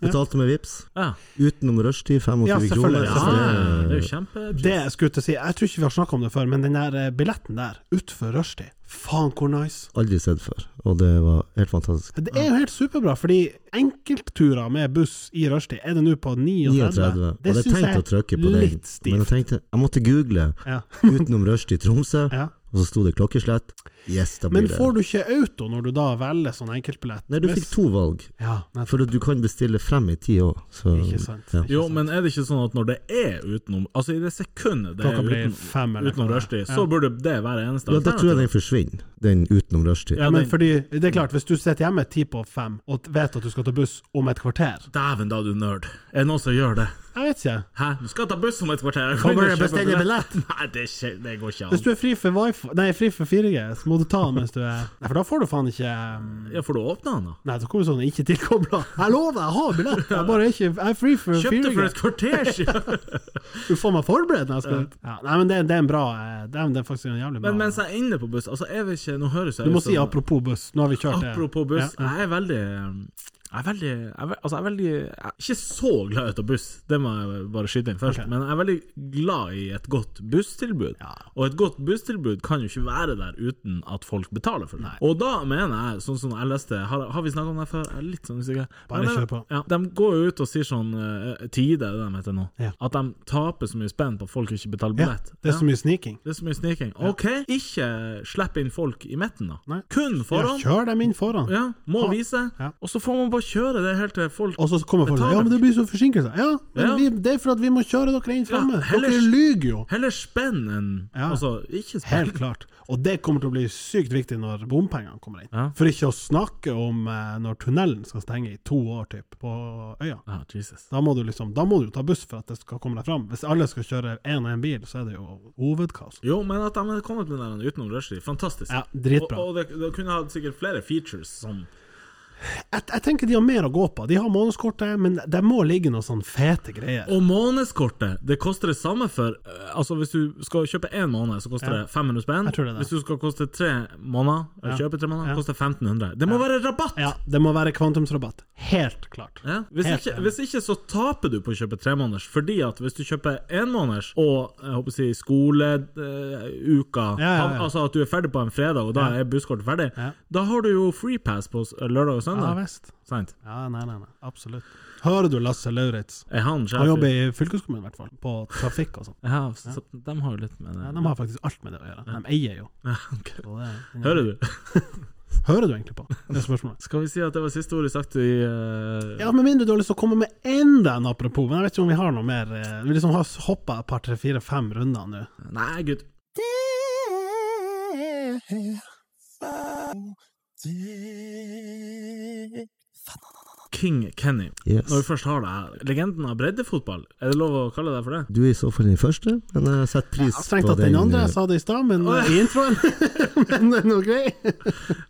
Betalte med VIPs
Ja.
Utenom rushtid, 25
Ja, selvfølgelig,
kroner.
Ja,
selvfølgelig.
det er jo kjempepris.
Det jeg skulle til å si, jeg tror ikke vi har snakka om det før, men den der eh, billetten der, utfor rushtid, faen hvor nice.
Aldri sett før, og det var helt fantastisk.
Det er jo helt superbra, fordi enkeltturer med buss i rushtid er det nå på 39.
39. Og jeg
synes
tenkte å trykke på den,
litt
men jeg
stivt.
tenkte jeg måtte google
Ja.
utenom rushtid i Tromsø,
Ja.
og så sto det klokkeslett. Yes, da
Men
blir det
får du ikke auto når du da velger sånn enkeltbillett?
Nei, du fikk to valg,
Ja, nei,
for at du kan bestille frem i tid òg, så
Ikke sant.
Ja.
Jo, men er det ikke sånn at når det er utenom Altså, i det sekundet det er
Klokka blir
utenom,
fem eller
utenom
noe.
rushtid, så burde det være eneste
ja, da tror jeg den forsvinner, den utenom rushtid.
Ja,
men
den-
fordi, det er klart, hvis du sitter hjemme ti på fem og vet at du skal ta buss om et kvarter
Dæven, da, du nerd. Er det noen som gjør det?
Jeg vet ikke.
Hæ, du skal ta buss om et kvarter? Jeg kan
Kan bare
ikke kjøpe
bestille
Nei, det, skje, det går ikke
Hvis
an.
du er fri for, wifi, nei, fri for 4G, så må du ta den mens du er Nei, for da får du faen ikke um,
Ja, får du åpne den, da?
Nei, da kommer sånn ikke tilkobla. Jeg lover, jeg har billett! Jeg bare er ikke Jeg er fri for
Kjøpte for
4G.
et kvarter siden!
Du får meg forberedt når jeg skal ut. Ja, nei, men det, det er en bra eh, Det er, det er faktisk en jævlig bra
Men mens jeg er inne på buss Altså, jeg vet ikke Nå høres jeg
Du må
ut som-
si apropos buss. Nå har vi kjørt det.
Apropos buss,
Ja, ja.
jeg er veldig jeg er veldig, jeg er, ve- altså jeg er veldig jeg er Ikke så glad i å ta buss, det må jeg bare skyte inn først.
Ok.
Men jeg er veldig glad i et godt busstilbud.
Ja.
Og et godt busstilbud kan jo ikke være der uten at folk betaler for det. Og da mener jeg, sånn som jeg leste Har, har vi snakka om det før? Jeg er litt sånn usikker. Men
Bare
jeg mener-
kjør på.
Ja, de går jo ut og sier sånn eh, Tide, er det de heter nå.
Ja.
At de taper så mye spenn på at folk ikke betaler
ja,
billett.
det er så mye sniking.
Det er så mye sniking. Ok, ikke slipp inn folk i midten, da.
Nei.
Kun
Ja,
foran.
kjør dem inn foran.
Ja, må vise.
Ja.
Og så får man bare kjøre det helt til folk
Og så kommer folk og sier,
Betaler.
Ja, men det blir så forsinkelser. Ja, men
Ja.
Vi, det er for at vi må kjøre dere inn fremme.
heller-
Dere lyver jo.
Heller spenn enn
Ja.
Altså, ikke spenn.
Helt klart. Og det kommer til å bli sykt viktig når bompengene kommer inn.
Ja.
For ikke å snakke om eh, når tunnelen skal stenge i to år, typ, på øya.
Ja, Ah, Jesus.
Da må, du liksom, da må du ta buss for at det skal komme deg fram. Hvis alle skal kjøre én og én bil, så er det jo hovedkaos.
Jo, men at de hadde kommet med den utenom rushtid, fantastisk.
Ja, dritbra.
Og, og det, det kunne hatt sikkert flere features som
Jeg, jeg tenker de har mer å gå på. De har månedskortet, men det må ligge noen sånn fete greier.
Og månedskortet, det koster det samme for eh, Altså Hvis du skal kjøpe én måned, så koster
Ja.
det 500 spenn.
Jeg tror det er det.
Hvis du skal koste tre måneder, eller
Ja.
kjøpe tre måneder,
Ja.
koster 1500. Det må være rabatt!
Ja, det må være kvantumsrabatt. Helt klart.
Ja. Hvis,
Helt
ikke,
enig.
hvis ikke så taper du på å kjøpe tremåneders, fordi at hvis du kjøper énmåneders og eh, jeg håper å si skoleuka,
Ja, ja, ja.
altså at du er ferdig på en fredag, og da er busskortet ferdig,
Ja.
da har du jo freepass på s- lørdag og
Ja
søndag.
visst.
Sant?
Ja, nei, nei, nei. Absolutt. Hører du Lasse Lauritz?
Er han sjef?
Han jobber i fylkeskommunen, i hvert fall. På trafikk og sånn.
Ja, så de har jo litt med det
Ja, de har faktisk alt med det å gjøre. De eier jo.
Ja, ok.
Så det-
Hører du?
Hører du egentlig på? Det er spørsmålet.
Skal vi si at det var siste ordet sagt i eh,
Ja, Med mindre du har lyst til å komme med enda en apropos, men jeg vet ikke om vi har noe mer. eh, Vi liksom har hoppa et par, tre, fire, fem runder nå.
Nei, gutt. King Kenny.
Yes.
Når vi først har deg her, legenden av breddefotball, er det lov å kalle deg for det?
Du er i så fall den første, men jeg setter pris
Strengt
på
tatt den andre,
eh,
jeg sa det i stad, men eh, i introen. men eh, det er noe grei.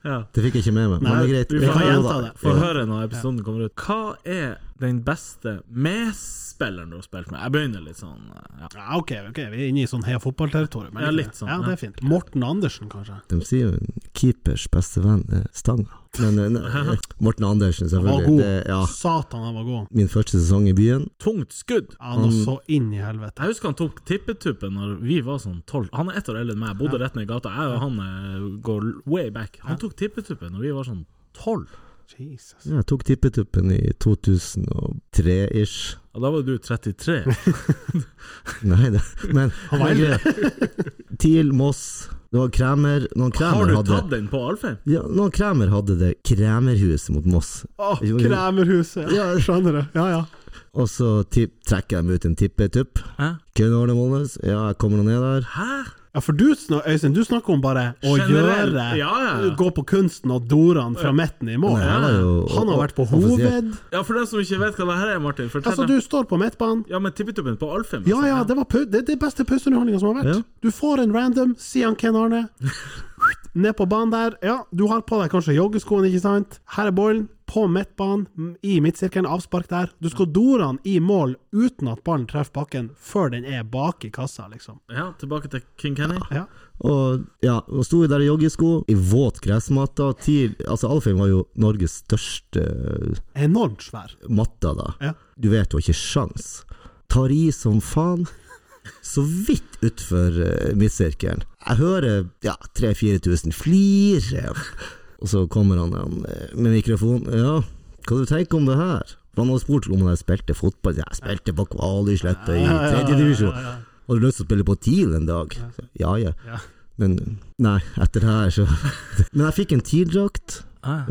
Ja.
Det fikk jeg ikke med meg, men
Nei,
det er greit.
vi
Jeg
får
kan jo
gjenta
da-
det.
Få
Ja.
høre når episoden kommer ut. Hva er den beste medspilleren du har spilt med? Jeg begynner litt sånn eh, ja.
Ja, ok, ok, vi er inne i sånn heia fotballterritorium. er
Ja,
det ikke
litt
det?
sånn,
Ja,
ja.
det er fint. Morten Andersen, kanskje.
De sier jo en keepers beste venn er stanga. Men eh, nei, Morten Andersen,
var
selvfølgelig.
god.
Det, ja.
Satan, han var god.
Min første sesong i byen.
Tungt skudd.
Ja, nå så inn i helvete.
Jeg husker han tok tippetuppen når vi var sånn tolv. Han er ett år eldre enn meg, bodde rett ned i gata. Jeg og han eh, går way back. Han tok tippetuppen når vi var sånn tolv.
Jesus.
Ja, Jeg tok tippetuppen i 2003-ish.
Og da var du 33.
Nei da, men
Han var eldre.
TIL, Moss, det var Kremer Noen
Har
Kremer
du
hadde
tatt den på Alfheim?
ja, Noen Kremer hadde det Kremerhuset mot Moss.
Å, Kremerhuset. Ja, jeg skjønner det. Ja, ja.
Og så tipp, trekker de ut en tippetupp.
Hæ?
Kunne Arne Molnes? Ja, jeg kommer nå ned der.
Hæ?
Ja, for du, snak- Øystein, du snakker om bare å
Generell.
gjøre
Ja, ja.
Gå på kunsten og doran fra midten i mål.
Nei, jeg var jo-
Han har vært på
offisiell.
hoved.
Ja, for dem som ikke vet hva det her er, Martin, fortell
Altså,
dem.
du står på midtbanen.
Ja, men tippetuppen på Alfheim?
Ja,
altså.
ja, det var pau- det, det er beste pauseunderholdninga som har vært.
Ja.
Du får en random, sier han Ken Arne. Ned på banen der. Ja, du har på deg kanskje joggeskoene, ikke sant? Her er ballen. På midtbanen, m- i midtsirkelen, avspark der. Du skal dore han i mål uten at ballen treffer bakken, før den er bak i kassa, liksom.
altså. ja, tilbake til King Kenny.
Ja.
Og ja, og sto der i joggesko, i våt gressmatta. TIL Altså, Alfheim var jo Norges største
Enormt svær.
matta da.
Ja.
Du vet jo ikke sjans. Tar i som faen. Så vidt utfor eh, midtsirkelen. Jeg hører ja, 3000-4000 flire. Og så kommer han han, eh, med mikrofon. Ja, hva du tenker om det her? For han hadde spurt om jeg spilte fotball. Jeg spilte på Kvalisletta i tredje divisjon. Har du lyst til å spille på TIL en dag? Så, Ja, ja.
Ja.
Men nei, etter det her så Men jeg fikk en TIL-drakt, Eh,
Ah.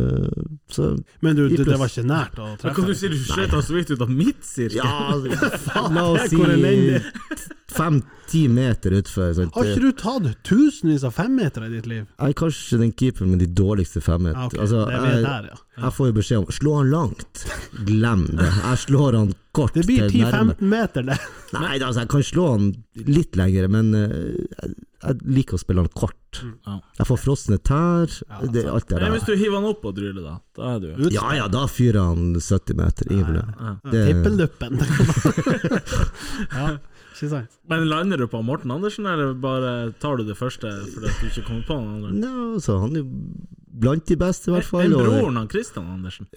så
Men du,
I
det, det
pluss.
var ikke nært å
Men kan du
treffe.
si du sletta så vidt ut av mitt sirkel?
Ja, faen, la oss
hvor
si
elendig.
fem-ti meter utfor. sant?
Har ikke du tatt tusenvis av femmetere i ditt liv?
Jeg er kanskje den keeperen med de dårligste femmet.
Ja, ok,
altså,
det er vi
jeg,
der, ja.
jeg får jo beskjed om slå han langt. Glem det. Jeg slår han kort.
Det blir
til nærme.
10-15 meter, det.
Nei, altså, jeg kan slå han litt lengre, men eh, jeg, jeg liker å spille han kort.
Ja.
Jeg får frosne tær, det, alt det
Nei, hvis
der.
du hiver han opp og dryler, da. Da er du
Ja ja, da fyrer han 70 meter. Ingen problem.
Mm.
Det,
Tippeluppen. ja, ikke sant?
Men lander du på Morten Andersen, eller bare tar du det første fordi at du ikke kommer på noen andre?
Nei, altså, han er jo blant de beste, i hvert fall.
Den
og-
broren han Christian Andersen?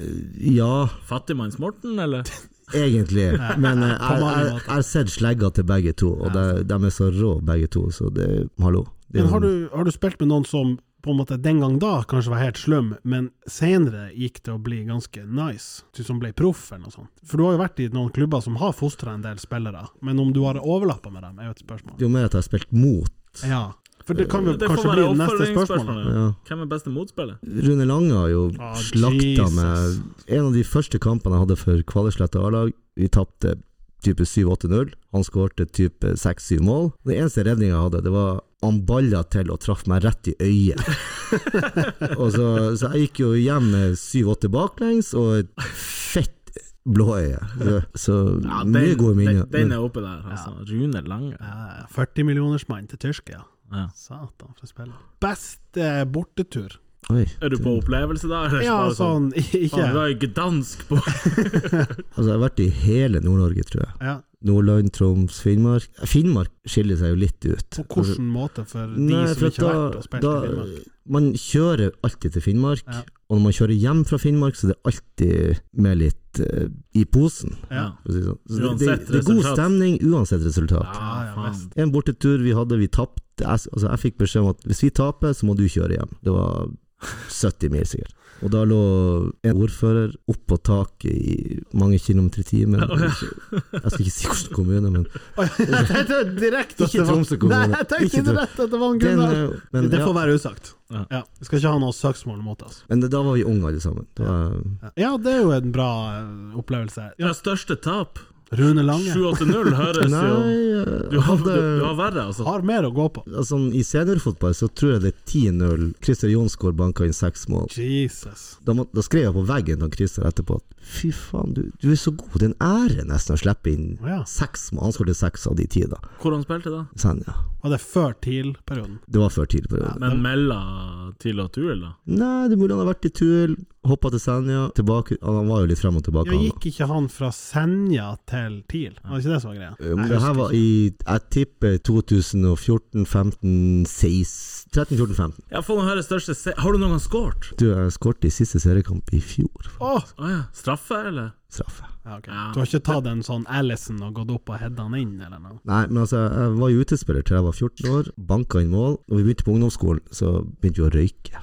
Ja,
Fattigmanns-Morten, eller?
egentlig. Men eh,
mange
jeg jeg-
måter.
jeg har sett slegga til begge to, og de, de er så rå begge to, så det Hallo. Det er
Men har
jo-
du, har du spilt med noen som på en måte den gang da kanskje var helt slum, men senere gikk til å bli ganske nice, du som ble proff eller noe sånt? For du har jo vært i noen klubber som har fostra en del spillere, men om du har overlappa med dem, er jo et spørsmål.
jo mer at jeg har spilt mot
Ja, for det kan jo
Det får
kanskje bli
være
det neste spørsmålet.
oppfølgingsspørsmålet.
Ja.
Hvem er beste motspiller?
Rune Lange har jo
Ah,
slakta
Jesus.
meg. En av de første kampene jeg hadde for Kvalesletta A-lag, vi tapte type 7-8-0. Han skårte type 6-7 mål. Den eneste redninga jeg hadde, det var han balla til og traff meg rett i øyet. og så, så jeg gikk jo hjem med 7-8 baklengs og et fett blåøye. Så, så mye gode minner.
den, den
men-
er oppe der, altså. Rune Lange.
Ja, 40 millionersmann til Tyrkia.
Ja.
Satan, for en spiller. Beste bortetur.
Oi.
Er du på opplevelse da? Eller
Ja,
bare
sånn,
Faen, du
ikke
har jo gdansk på
Altså, jeg har vært i hele Nord-Norge, tror jeg.
ja,
Nordland, Troms, Finnmark. Finnmark skiller seg jo litt ut.
På hvilken måte for de
Nei,
som
for
ikke har vært og
at da,
spilt
da
i Finnmark?
Man kjører alltid til Finnmark,
Ja.
og når man kjører hjem fra Finnmark, så er det alltid med litt eh, i posen.
Ja.
for å si det sånn. Så det, det,
Uansett
det er god
resultat.
stemning uansett resultat.
Ja,
ja,
faen.
visst.
En bortetur vi hadde, vi tapte. Jeg, altså, jeg fikk beskjed om at hvis vi taper, så må du kjøre hjem. Det var 70 mil, sikkert. Og da lå en ordfører oppå taket i mange kilometer i timen.
Ja, ja.
Jeg skal ikke si hvilken kommune, men
Oi, Jeg tenkte direkte at
Ikke
det var
Tromsø kommune.
Nei, jeg tenkte
Ikke Trom-
direkte at det var en
den,
Gunnar.
eh, men,
det får
ja.
være usagt.
Ja.
Ja. Vi skal ikke ha noe søksmål mot oss.
men da var vi unge alle sammen. Det var,
Ja, det er jo en bra eh, opplevelse.
Ja, største tap.
Rune Lange
7-8-0 høres jo
nei,
du
jeg
har, du,
hadde
du har verre, altså.
har mer å gå på.
altså, I seniorfotball så tror jeg det er 10-0. Christer Jonsgaard banka inn seks mål.
Jesus.
Da, må, da skrev jeg på veggen til Christer etterpå at fy faen, du, du er så god. Det er en ære nesten å slippe inn
Ja.
seks mål. Han skåret seks av de ti, da.
Hvor han spilte da?
Så han, ja.
Var det før TIL-perioden?
Det var før tidlig på perioden.
Men mellom TIL og Tuel, da?
Nei, det er mulig han har vært i Tuel, hoppa til Senja, tilbake Han var jo litt frem og tilbake,
Ja,
han.
gikk ikke han fra Senja til TIL? Var det ikke det som var greia?
da.
Nei,
Eh, Men
jeg
det her
husker
var i Jeg tipper 2014, 15, 16 13, 14, 15.
Ja, få nå høre største se Har du noen gang scoret?
Du, jeg skåret i siste seriekamp i fjor.
ikke. Åh!
Å ja. Straffe, eller?
Straffe.
Ja, ok.
Ja.
Du har ikke tatt en sånn Allison og gått opp og hedda han inn, eller noe?
Nei, men altså, jeg var jo utespiller til jeg var 14 år. Banka inn mål. Når vi begynte på ungdomsskolen, så begynte vi å røyke.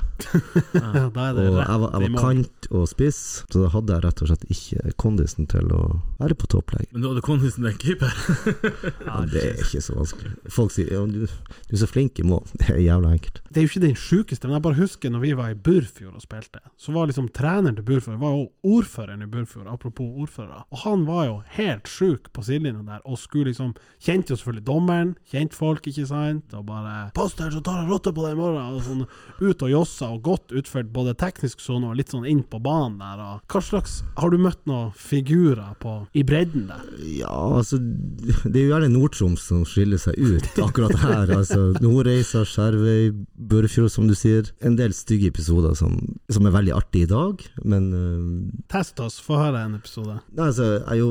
Ja, da er
Og
det rett
jeg var,
i
jeg var
mål.
kant og spiss, så da hadde jeg rett og slett ikke kondisen til å være på topp lenger.
Men du hadde kondisen til en keeper?
Ja, det er ikke så vanskelig. Folk sier ja, du, 'du er så flink i mål'. Det er jævla enkelt.
Det er jo ikke den sjukeste, men jeg bare husker når vi var i Burfjord og spilte, så var liksom treneren til Burfjord var jo ordføreren i Burfjord, apropos ordførere, og han var jo helt sjuk på sidelinja der, og skulle liksom Kjente jo selvfølgelig dommeren, kjente folk, ikke sant, og bare 'Pass deg, så tar jeg rotta på deg i morgen!' og sånn ut og jossa, og godt utført både teknisk sone og litt sånn inn på banen der, og hva slags Har du møtt noen figurer på i bredden der?
Ja, altså Det er jo gjerne Nord-Troms som skiller seg ut akkurat her. altså Nordreisa, Skjervøy, Børfjord, som du sier. En del stygge episoder som, som er veldig artige i dag, men eh,
Test oss, få høre en episode.
Nei, altså, jeg har jo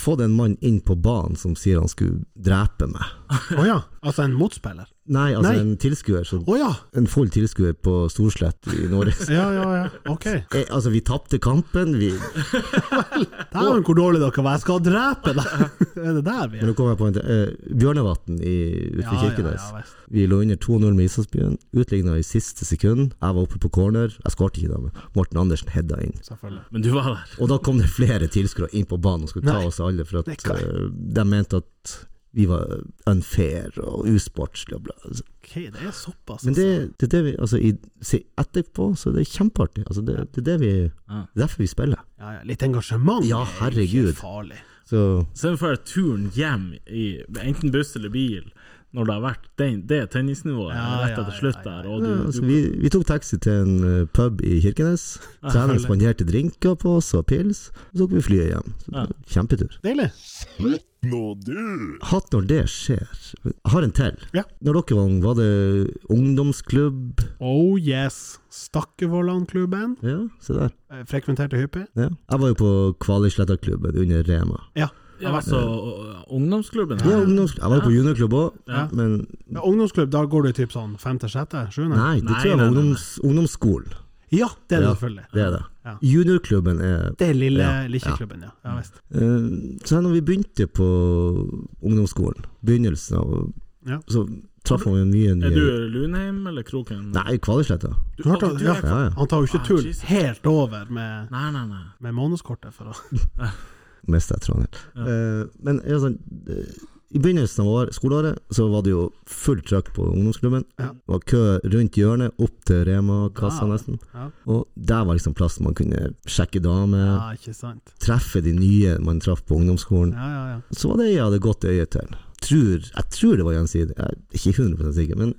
fått en mann inn på banen som sier han skulle drepe meg.
Å ja, altså en motspiller?
Nei, altså
Nei.
en tilskuer. som-
Å ja!
En full tilskuer på Storslett i Norge.
Ja, ja, ja. Ok.
Eh, altså, vi tapte kampen, vi,
Dæven, hvor dårlig dere var. Jeg skal drepe deg! er det der vi
men
er?
nå kommer jeg på en til. Eh, Bjørnevatn i- ute i Kirkenes.
visst.
Vi lå under 2-0 med Ishavsbyen. Utligna i siste sekund. Jeg var oppe på corner. Jeg skåret ikke, da, men Morten Andersen hedda inn.
Selvfølgelig.
Men du var der.
Og da kom det flere tilskuere inn på banen og skulle ta
Nei.
oss alle, for at
Det kan-
eh, de mente at vi var unfair og usportslige og bla. Altså,
Ok, det er såpass.
Men det,
altså.
det er det vi Altså, i, se, etterpå så er det kjempeartig. Altså, det, det er det vi
Ja.
det er Derfor vi spiller.
ja, ja. Litt engasjement
Ja, herregud.
er ikke farlig.
Så
Så den får turen hjem i enten buss eller bil, når det har vært den, det tennisnivået
Ja,
rett
ja,
etter
ja,
slutt
ja, ja.
der, og
ja,
du,
altså,
du
vi, vi tok taxi til en eh, pub i Kirkenes. Treneren spanderte drinker på oss og pils. Så tok vi flyet hjem. Så,
Ja.
Kjempetur.
Deilig.
Hatt når det skjer. Jeg har en til.
Ja.
Når dere var unge, var det ungdomsklubb?
Oh yes. Stakkevollan-klubben.
Ja, se der.
eh, Frekventerte hyppig.
Ja. Jeg var jo på Kvalisletterklubben under Rema.
Ja.
ja, altså, og- og ungdomsklubben
Ja,
her.
ungdomsklubb. Jeg var jo på juniorklubb òg,
Ja.
men
Ja, Ungdomsklubb, da går du typ sånn femte, sjette, sjuende?
Nei, det
Nei,
tror
nei,
jeg var
nei, nei.
ungdoms, ungdomsskolen.
Ja, det er det
Ja.
selvfølgelig.
Det er det.
Ja.
Juniorklubben er
Det er lille
Ja, ja.
Likkjeklubben, ja. Ja visst.
Eh, Så her når vi begynte på ungdomsskolen, begynnelsen av
Ja.
Så traff man mye nye
Er du Lunheim eller Kroken?
Nei, Kvalisletta.
Du hørte,
ok, du
ja.
er-
Ja, ja.
Han tar jo ikke
Ah,
tull
Jesus.
helt over med,
Nei, nei, nei.
med månedskortet, for å
Mista jeg tråden helt. Eh, Men ja, sånn, eh, i begynnelsen av år, skoleåret så var det jo fullt trøkk på ungdomsklubben.
Ja. Ah.
Det var kø rundt hjørnet, opp til Rema-kassa
Ja.
nesten.
ja.
Og der var liksom plassen man kunne sjekke damer,
ja, Ah, ikke sant.
treffe de nye man traff på ungdomsskolen.
Ja, ja, ja.
så var det jeg hadde godt øye til. Tror, jeg tror det var gjensidig, jeg er ikke 100 sikker, men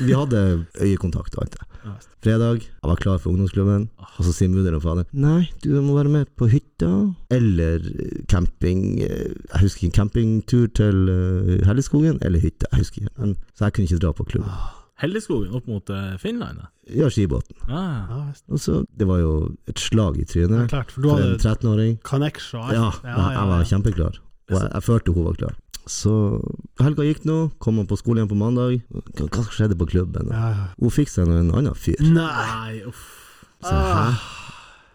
vi hadde øyekontakt og alt det. Fredag, jeg var klar for ungdomsklubben, og så sier mudder'n og faderen Nei, du må være med på hytta, eller eh, camping eh, Jeg husker
Ah,
ikke, campingtur til eh, Helleskogen, eller hytta, jeg husker ikke. Men, så jeg kunne ikke dra på klubben.
Helleskogen opp mot eh, Finland? da?
Ja, skibåten.
Ah.
Ja, visst.
Og så, det var jo et slag i
Ja,
trynet
klart, for du
for
hadde
en 13-åring.
connection og alt.
Ja, jeg, jeg var kjempeklar. Og jeg, jeg følte hun var klar. Så helga gikk nå, kom hun på skolen igjen på mandag. Hva hva skjedde på klubben?
Ja, Ah, ja.
Hun fikk seg nå en annen fyr.
Nei!
Nei, uff.
Så, hæ?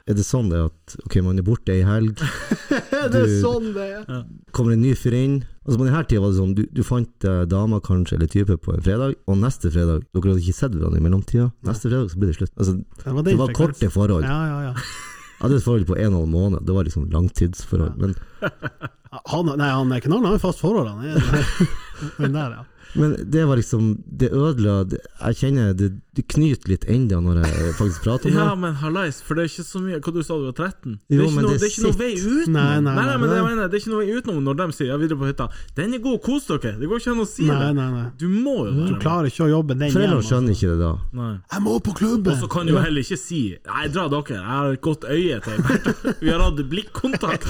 Er det sånn det at ok, man er borte ei helg,
Det er sånn det er!
kommer en ny fyr inn Altså På denne tida var det sånn du, du fant eh, dama kanskje eller type på en fredag, og neste fredag Dere hadde ikke sett hverandre i mellomtida. Neste fredag så ble det slutt. Altså,
Det var,
det
din
var
frekvens.
korte forhold.
Ja, ja, ja.
Jeg hadde et forhold på en og en halv måned. Det var liksom langtidsforhold. Men
Han, nei, han er ikke noen, han er fast forhold, han. Er, men der, ja.
Men det var liksom Det ødela det- Jeg kjenner det, det knyter litt enda når jeg faktisk prater om det.
Ja, men hallais, for det er ikke så mye Hva du sa du var 13?
Jo,
det er ikke,
men
noe,
det
det er ikke noe
sitter.
vei utenom.
Nei, nei, nei,
men det, jeg
nei.
mener, det er ikke noe vei utenom når de sier 'ja, videre på hytta'. Den er god, kos dere! Det går ikke an å si
Nei,
det.
nei, nei.
Du må jo
Du
være med.
klarer ikke å jobbe den hjem,
Foreldrene
altså.
skjønner ikke det da.
Nei.
Jeg må på
Og
klubben!
så kan du jo heller ikke si 'nei, dra dere, jeg har et godt øye til Bertha'. Vi har hatt blikkontakt.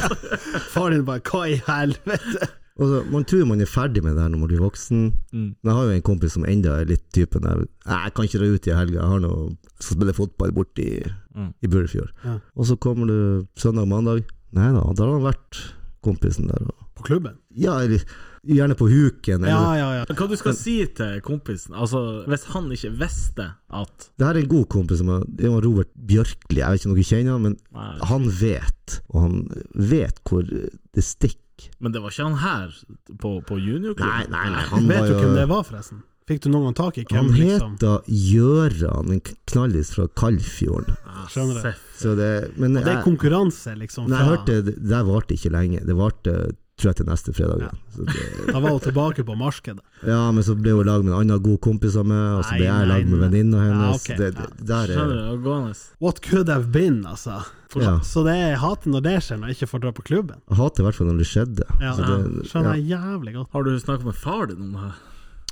Far din bare 'hva i helvete'?
Og så, Altså, man tror man er ferdig med det her når man blir voksen.
Mm.
Men jeg har jo en kompis som enda er litt typen der «Nei, 'Jeg kan ikke dra ut i helga, jeg har noe jeg skal spille fotball borte i,
Mm.
i Burefjord'.
Ja.
Og så kommer du søndag-mandag. Nei da, da har han vært kompisen der. Og,
På klubben?
ja, eller gjerne på huken. Eller,
Ja, ja, ja.
Hva du skal si til kompisen, altså hvis han ikke visste at
Det her er en god kompis som er, det var Robert Bjørkli. Jeg vet ikke om dere kjenner han, men
Nei.
han vet, og han vet hvor det stikker.
Men det var ikke han her på, på juniorklubben.
nei, nei, han
Vet
var
du
jo
hvem det var, forresten? Fikk du noen gang tak i hvem,
Han
liksom?
heter Gjøran, en knallis fra Kalfjorden.
Skjønner det.
Seff.
Så det, men
Det er
jeg,
konkurranse, liksom.
når jeg
Fra.
hørte det, det varte ikke lenge. Det varte tror jeg til neste fredag. Ja. Så det,
Da var hun tilbake på markedet.
ja, men så ble hun lag med en annen god kompis av meg, og så ble
Nei,
jeg lag med
nei, nei.
venninna hennes.
Ja, ok,
det, det, der er,
Skjønner det, gående.
What could have been, altså.
Ja.
Så det er jeg hater når det skjer, når jeg ikke får dra på klubben.
jeg hater i hvert fall når det skjedde.
Ja,
Så det, ja,
Skjønner jeg jævlig godt.
Har du snakka med far din om det her?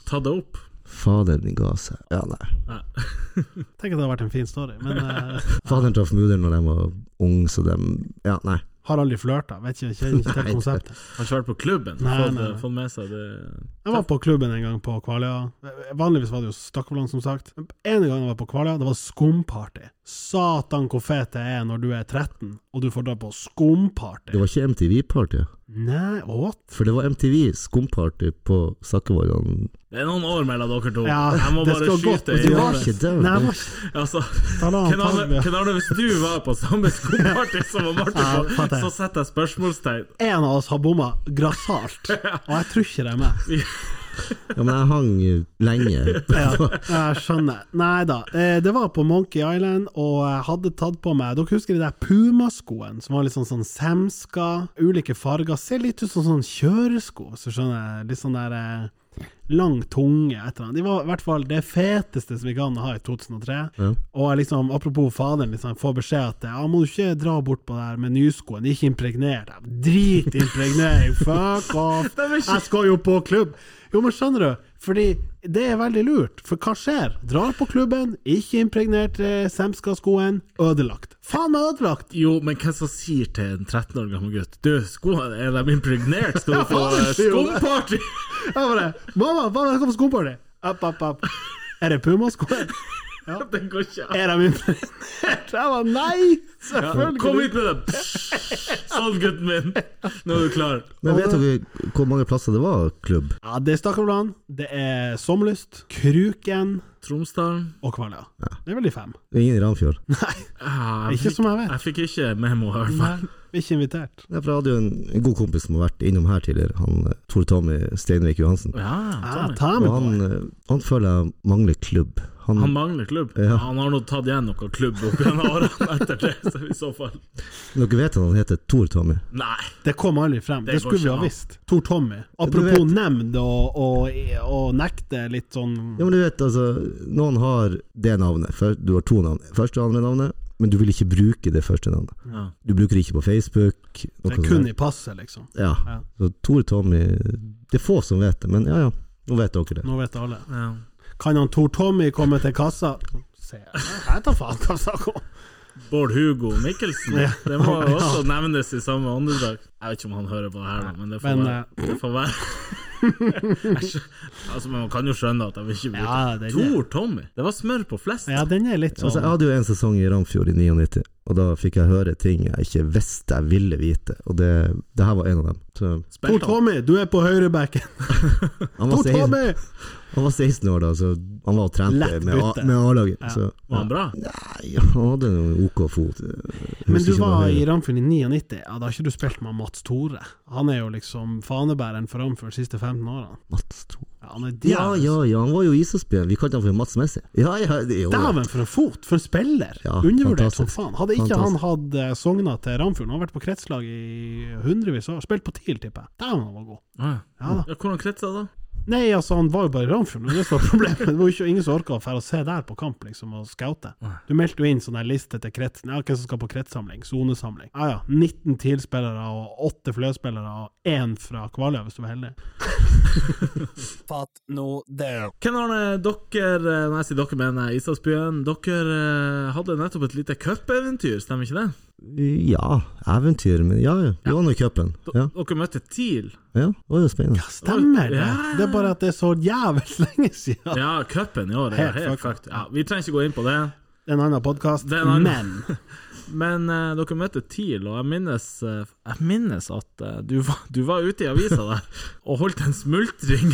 Ta det opp?
Faderen din ga seg. Ja, nei.
Tenk at det hadde vært en fin story, men eh,
Faderen traff mudder'n når de var unge, så de Ja, nei.
har aldri flørta. Vet ikke, kjenner ikke til
Nei.
konseptet.
Har ikke vært på klubben?
Nei,
fått, eh,
nei, nei.
fått med seg det
Jeg var på klubben en gang på Kvaløya. Vanligvis var det jo Stakkevollan, som sagt. Men En gang jeg var på Kvaløya, det var skumparty. Satan hvor fet det er når du er 13 og du får dra på
Det
skumparty.
var ikke MTV-party.
Nei, what?
For det var MTV skumparty på Sakkevollan.
Det er noen år mellom dere to.
Ja,
jeg må
det
bare
skal godt,
skyte
men
inn
Du var
det.
ikke der.
Nei, jeg
vet du.
var ikke
Altså,
Ta la han
Ken
ta
Arne,
det.
Ken Arne, hvis du var på samme skoleparty som han
Ja,
Martin,
fatter
på,
jeg.
så setter jeg spørsmålstegn.
En av oss har bomma grassat, og jeg tror ikke det er meg.
Ja, men jeg hang eh, lenge.
Ja, jeg skjønner. Nei da. eh, Det var på Monkey Island, og jeg hadde tatt på meg Dere husker de der Puma-skoene, som var litt sånn, sånn semska, ulike farger. Ser litt ut som sånn kjøresko, hvis du skjønner. Litt sånn der eh, lang tunge, et eller annet. De var i hvert fall det feteste som vi kan ha i 2003. Og jeg liksom, apropos faderen, liksom, får beskjed at ja, må du ikke dra bort på det her med nyskoene, de er ikke impregnert. Jeg, Drit impregnering, fuck off! Jeg skal jo på klubb! Jo, men skjønner du? Fordi det er veldig lurt. For hva skjer? Drar på klubben, ikke impregnert eh, Semska-skoen, ødelagt. Faen meg ødelagt!
Jo, men hvem som sier til en 13 år gammel gutt Du, skoene, er de impregnert? Skal du få eh,
faen, sier jo det.
skumparty?
Jeg bare Mamma, mamma, jeg skal på skoparty! App, app, app. Er det Puma-skoen?
Det går ikke an.
Er de impregnert? Jeg bare nei!
Kom
Selvfølgelig!
hit med det! Psh, Sånn, gutten min. Nå er du klar.
Men vet dere hvor mange plasser det var klubb?
Ja, det er Stakkarland, det er Sommerlyst, Kruken
Tromsdalen.
og Kvaløya. Det er vel de fem?
Det er Ingen i Ramfjord.
Nei,
Ah, jeg
Ikke
fikk-
som jeg vet.
Jeg fikk ikke memo, i hvert fall.
nei, ikke invitert.
Derfor hadde jo en, en god kompis som har vært innom her tidligere, han eh, Tor Tommy Steinvik Johansen.
Ja,
Ah,
Tommy.
Og
Tommy
han,
boy.
eh, han føler jeg mangler klubb. Han,
Han mangler klubb.
Mm. Ja.
Han har nå tatt igjen noe klubb opp gjennom årene etter det, så i så fall.
dere vet at han heter Tor Tommy?
Nei.
Det kom aldri frem. Det,
går
skulle vi
ikke
ha
an.
visst. Tor Tommy.
Du
Apropos
vet-
nemnd og, og, og nekte litt sånn
Ja, men du vet, altså, noen har det navnet. Før, du har to navn. Første og andre navnet, men du vil ikke bruke det første navnet.
Ja.
Du bruker det ikke på Facebook.
Det
noe
er
sånt
kun
der.
i passet, liksom.
Ja.
Ja.
Så Tor Tommy Det er få som vet det, men ja ja, nå vet dere det.
Nå vet alle.
Ja.
Kan han Tor Tommy komme til kassa? Se, jeg tar faen hva han snakker om.
Bård Hugo Mikkelsen.
Ja.
Det må jo også nevnes i samme åndedrag. Jeg vet ikke om han hører på det her, da, men det får
Men, eh,
være. Det får være. Altså, men man kan jo skjønne at de ikke bryr
eh, Ja,
seg.
den er-
Tor Tommy! Det var smør på flest.
Ja, den er litt
Altså, jeg
sånn
hadde jo en sesong i Ramfjord i 99, og da fikk jeg høre ting jeg ikke visste jeg ville vite, og det, det her var en av dem. Så,
Tor
Spilte han.
Tommy, du er på høyrebacken!
han,
Tor
var 16,
Tommy!
han var 16 år da, så han var og trente
Lett
med, A-
bytte.
med A-laget.
Ja.
Så
Var han bra?
Nei, han hadde noen OK fot. Jeg
Men
husker
du
ikke om
var
han-
i Ramfjord i 99, ja, da har ikke du spilt med Mats Tore. Han er jo liksom fanebæreren for Ramfjord de siste 15 årene.
Mats Thor.
Ja, han er
Ja,
djevels.
ja, ja, han var jo ishockeyspiller. Vi kalte han for Mats Messi. Ja, ja, det, jo, ja.
Dæven, for en fot! For en spiller!
Ja,
Undervurdert som
fantastisk.
faen. Hadde ikke han
Fantastisk.
hatt eh, Sogna til Ramfjord, han har vært på kretslag i hundrevis av år, spilt på TIL, tipper jeg. Dæven, han var god!
Ah,
Ja da.
ja. Hvordan kretsa da?
Nei, altså, han var jo bare i Ramfjord, men det som var problemet. Det var jo ikke ingen som orka å dra og se der på kamp, liksom, og scoute. Du meldte jo inn sånn her liste til krets, ja, hvem som skal på kretssamling, sonesamling. Ja ja, 19 TIL-spillere og 8 Flø-spillere og 1 fra Kvaløya, hvis du var heldig.
Fatt nå det.
Ken Arne, dere eh, Når jeg sier dere, mener jeg Islandsbyen. Dere eh, hadde nettopp et lite cupeventyr, stemmer ikke det?
ja, eventyr, men ja, ja. Vi var nå i cupen.
D
Ja,
Dere møtte TIL.
ja, det var jo spennende.
Stemmer det!
Ja.
Det er bare at det er så jævlig lenge siden.
Ja, cupen i år er
Helt
helt, helt
fucked.
fucked. Ja, vi trenger ikke gå inn på det.
Det er en annen podkast,
Det er en annen-
men
Men eh, dere møtte TIL, og jeg minnes, eh, jeg minnes at eh, du, var, du var ute i avisa der og holdt en smultring.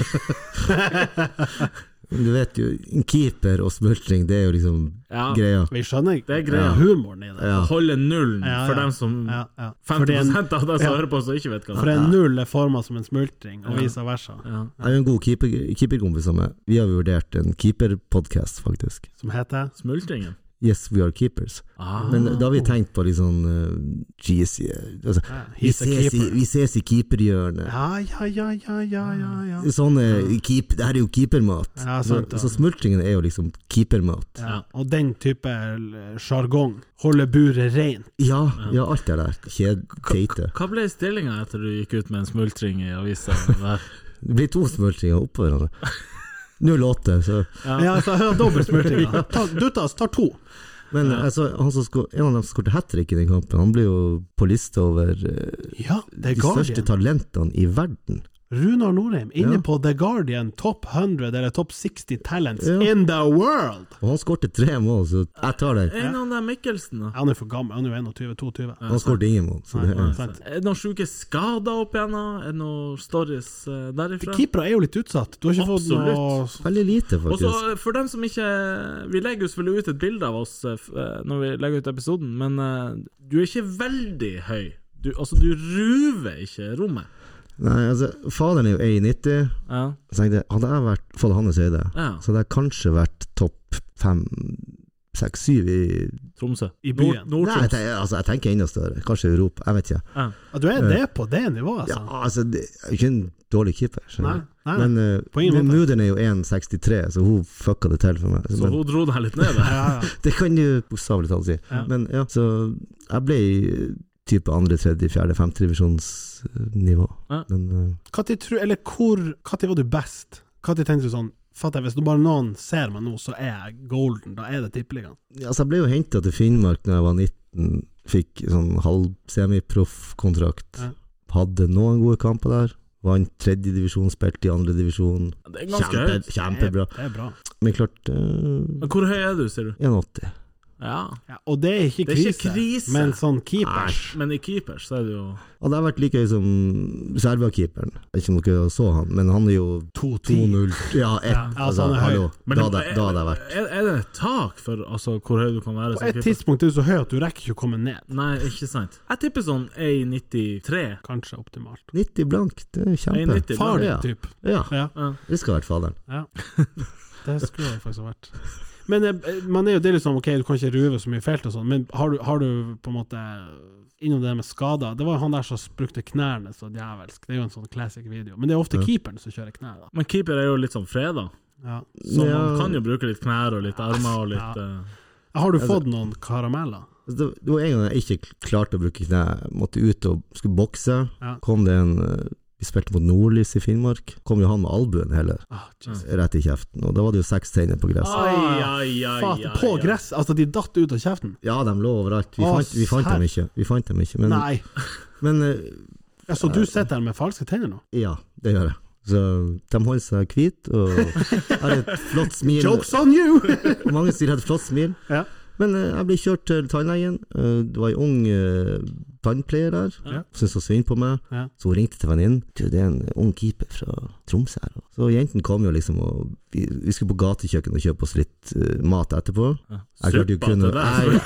Du vet jo, en keeper og smultring, det er jo liksom
Ja.
greia.
vi skjønner
Det er greia.
humoren i det.
Ja.
Holde nullen
Ja,
for
ja.
dem som
Ja, ja. Fordi
50
en,
av dem som
Ja.
hører på, som ikke vet hva
for
det er.
en null er forma som en smultring, og vice versa.
Ja.
Jeg er jo en god keeper, keeperkompis av meg. Vi har jo vurdert en keeperpodkast, faktisk.
Som heter
Smultringen.
Yes, we are keepers.
Ah.
Men da har vi tenkt på litt sånn eh, Jeez, eh, altså,
ja,
vi,
He's a
ses i,
keeper.
vi ses i keeperhjørnet.
Ja, ja, ja, ja, ja, ja. ja.
Sånne keep, Det her er jo keepermat.
Ja,
så,
sant, ja.
så smultringen er jo liksom keepermat.
Ja. Og den type l- sjargong. Holde buret reint.
Ja, ja, alt det der. Kjed, teite.
Hva ble stillinga etter du gikk ut med en smultring i avisa? der?
Det blir to smultringer oppå hverandre. 08, så
Ja, altså, ja, dobbelt smultring. da. Ta, Duttas tar to.
Men altså, han som sko, en av dem som skåret hat trick i den kampen, han ble jo på lista over eh,
Ja, The
de største
Guardian.
talentene i verden.
Runar Norheim inne
Ja.
på The Guardian top 100 eller top 60 talents
Ja.
in the world!
Og han skårte tre mål, så jeg tar den.
En av dem Mikkelsen, da.
Han er for gammel, han er jo 21-22.
Han skårte ingen mål. Så det, er-
Sant.
Er det noen sjuke skader opp igjennom? Er det noen stories eh, derifra?
Keepere er jo litt utsatt. Du har ikke fått noe
Absolutt.
veldig lite,
Og så
faktisk.
eh, for dem som ikke Vi legger jo selvfølgelig ut et bilde av oss eh, f- eh, når vi legger ut episoden, men eh, du er ikke veldig høy. Du, altså, du ruver ikke rommet.
Nei, altså, faderen er jo 1,90.
Ja.
Så tenkte jeg, hadde jeg vært, fått hans høyde,
Ja.
så hadde jeg kanskje vært topp fem, seks, syv i
Tromsø.
i byen.
Nei, jeg,
Nord-Troms.
tenker, altså, jeg tenker enda større. Kanskje Europa, jeg vet ikke.
Ja, du er det på det nivået,
Ja,
altså.
altså, det er jo ikke en dårlig keeper.
Nei,
skjønner du.
nei, nei.
Men eh,
Ah. På ingen
men
måte.
mudder'n er jo 1,63, så hun fucka det til for meg.
Så
men,
hun dro deg litt ned der.
ja, ja.
Det kan du bokstavelig talt si.
Ja.
Men ja, så jeg ble i type andre, tredje, fjerde, femte divisjonsnivå.
Ja.
Men eh,
Hva tid tru- eller hvor Hva tid var du best? Hva tid tenkte du sånn Fatter jeg, hvis nå bare noen ser meg nå, så er jeg golden. Da er det tippeligaen.
altså, jeg ble jo henta til Finnmark da jeg var 19, fikk sånn halv semiproffkontrakt.
Ja.
Hadde noen gode kamper der. Vant tredje divisjon, spilte i andre divisjon.
Det er ganske
Kjempe,
høyt.
kjempebra.
Det er bra.
Men klart eh,
Men hvor høy er du, sier du?
1,80.
Ja.
Ja, og det er ikke
Det er
krise,
ikke krise.
men sånn keepers
Men i keepers så er du jo
Hadde jeg vært like høy som Serbia-keeperen Jeg vet ikke om dere så han, men han er jo
2-10.
2-0 Ja, 1.
altså,
altså,
han er høy.
hallo.
Men
Da
det-
hadde da hadde jeg vært
Er, er det et tak for altså, hvor høy du kan være
På
som
et
keeper?
tidspunkt er du så høy at du rekker ikke å komme ned.
Nei, ikke sant. Jeg tipper sånn 1,93.
Kanskje optimalt.
90 blank, det er kjempe.
1,90 blank.
Far din,
ja.
typ.
Ja,
Ja.
det skal være faderen.
Ja. Det skulle det faktisk ha vært. Men eh, man er jo det liksom, ok, du kan ikke ruve så mye felt og sånn, men har du, har du på en måte innom det med skader Det var jo han der som brukte knærne så djevelsk. Det er jo en sånn classic video. Men det er ofte keeperen som kjører knær, da.
Men keeper er jo litt sånn freda,
Ja.
så
Ja.
man kan jo bruke litt knær og litt armer og litt
Ja.
eh,
Har du fått noen karameller?
Altså, Det det var en gang jeg ikke klarte å bruke kne. Jeg måtte ut og skulle bokse.
Ja.
Kom det en eh, Vi spilte mot Nordlys i Finnmark. Kom jo han med albuen heller,
Ah, Jesus.
rett i kjeften. Og da var det jo seks teiner på gress.
Ai, ai, ai,
Faen,
ai,
på
ai.
gress! Altså, de datt ut av kjeften.
Ja, de lå overalt. Vi
Å,
fant, vi fant
serr.
dem ikke. Vi fant dem ikke. Men,
Nei.
men eh,
Altså, du sitter der med falske tenner nå?
ja, det gjør jeg. Så de holder seg hvite og har et flott smil.
Jokes on you!
Mange sier et flott smil.
Ja.
Men eh, jeg ble kjørt til tannlegen. Eh, det var ei ung eh, tannpleier der.
Ja.
Syntes så synd på meg.
Ja.
Så hun ringte til venninnen. Du, det er en ung keeper fra Tromsø her. Så jentene kom jo liksom og Vi, vi skulle på gatekjøkkenet og kjøpe oss litt eh, mat etterpå. Jeg klarte jo
Suppa
kun å
til deg.
jeg,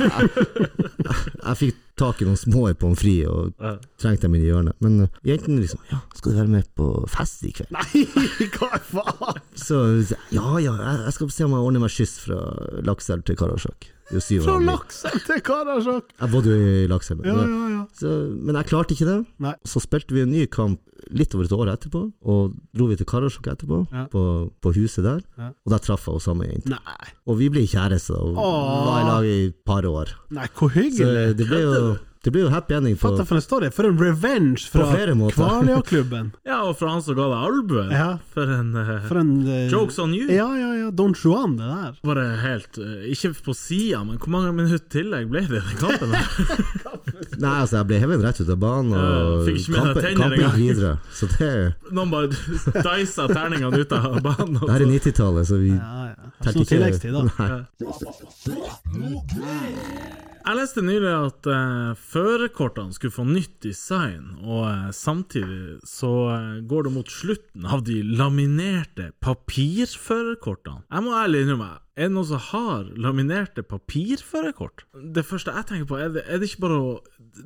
jeg, jeg fikk tak i noen små pommes frites og
Ja.
trengte dem inn i hjørnet. Men eh, jentene liksom Ja, skal du være med på fest i kveld?
Nei, hva faen?
Så ja, ja, jeg, jeg skal se om jeg ordner meg skyss fra Lakselv til Karasjok. Det er jo syv
Fra
år.
Lakselv til Karasjok!
Jeg bodde jo i Lakselv.
Ja, ja, ja.
Så, men jeg klarte ikke det.
Nei.
Så spilte vi en ny kamp litt over et år etterpå, og dro vi til Karasjok etterpå,
Ja.
på, på huset der.
Ja.
Og der traff jeg henne samme jente.
Nei,
Og vi ble kjærester og
Åh.
var i lag i et par år.
nei, hvor
Så
hyggelig!
det ble jo, det ble jo happy ending på
Fatt deg for en story! For en revenge fra
flere måter.
Kvaløya-klubben!
Ja, og fra han som ga deg albuen.
Ja.
For en, eh,
For en eh,
Jokes on you.
Ja, ja, ja. Don Juan, det der.
Bare helt eh, Ikke på sida, men hvor mange minutter tillegg ble det i den kampen? her?
Nei, altså, jeg ble hevet rett ut av banen,
Ja,
og
fikk ikke med deg
kampen,
tenner
kampen gikk
engang.
videre. Så det,
Noen bare dicet terningene ut av banen. og
det her
så-
er 90-tallet, så vi
Ja, ja. Har Ikke
tenker
noe tilleggstid, da.
Nei.
Jeg leste nylig at eh, førerkortene skulle få nytt design, og eh, samtidig så eh, går det mot slutten av de laminerte papirførerkortene. Jeg må ærlig innrømme, er det noen som har laminerte papirførerkort? Det første jeg tenker på, er det, er det ikke bare å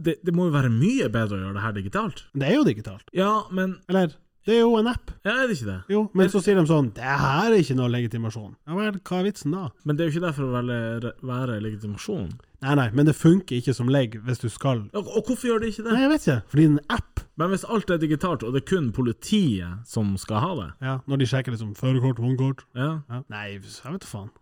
det, det må jo være mye bedre å gjøre det her digitalt?
Det er jo digitalt.
Ja, men
Eller? Det er jo en app.
ja, er det ikke det?
Jo, men så sier de sånn Det her er ikke noe legitimasjon. Ja vel, hva er vitsen da?
Men det er jo ikke derfor å være, være legitimasjon.
Nei, nei, men det funker ikke som legg hvis du skal
Og, og hvorfor gjør det ikke
Nei,
det?
jeg vet ikke. Fordi det er en app.
Men hvis alt er digitalt, og det er kun politiet som skal ha det
Ja, når de sjekker liksom førerkort, vognkort
ja.
ja. Nei, jeg vet da faen.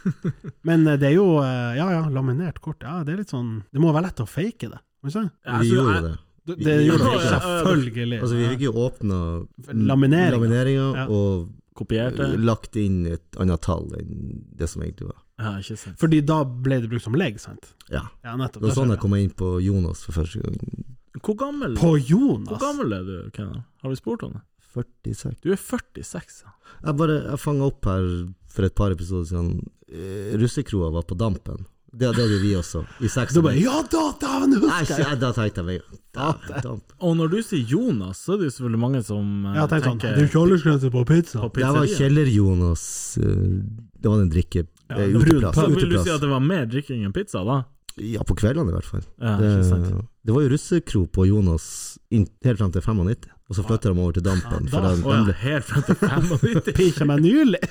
men eh, det er jo eh, Ja ja, laminert kort. Ja, det er litt sånn Det må være lett å fake det. Må ikke sant?
Ja,
Vi
altså,
gjorde
jeg-
jo det.
Det,
Vi-
det
vi
gjør det
gjorde
ikke,
det.
selvfølgelig.
Altså, vi fikk jo åpna
Lamineringa.
lamineringa
Ja.
og
Kopierte.
lagt inn et annet tall enn det som egentlig var.
Ja, ikke sant.
Fordi da ble det brukt som legg, sant?
Ja.
Ja, nettopp.
Det var
der
sånn
ser
jeg kom inn på Jonas for første gang.
Hvor gammel,
du. På
hvor
Jonas!
gammel er du, Kenner? Har vi spurt om det?
46.
Du er 46. ja.
Jeg bare jeg fanga opp her for et par episoder siden eh, russekroa var på dampen. Det det gjorde vi også, i seks
Du bare Ja da, dæven,
Nei,
husker
ikke-
jeg!
jeg- Da tenkte jeg meg Dæven, damp.
Og når du sier Jonas, så er det jo selvfølgelig mange som eh,
Jeg har tenkt sånn Det
tenker
er jo ikke aldersgrense på pizza.
på
Det var
pizzeria.
Kjeller-Jonas. Det var en drikke...
Ja,
eh,
brun
uteplass.
Så vil du si at
uteplass.
det var mer drikking enn pizza, da?
Ja, på kveldene i hvert fall.
Ja, ikke sant.
Det, det var jo russekro på Jonas inn- helt fram til 95, og så flytta de over til Dampen.
Ja,
for
da-
da,
Å ja,
de ble,
helt frem til 95?
Pikkja meg nylig!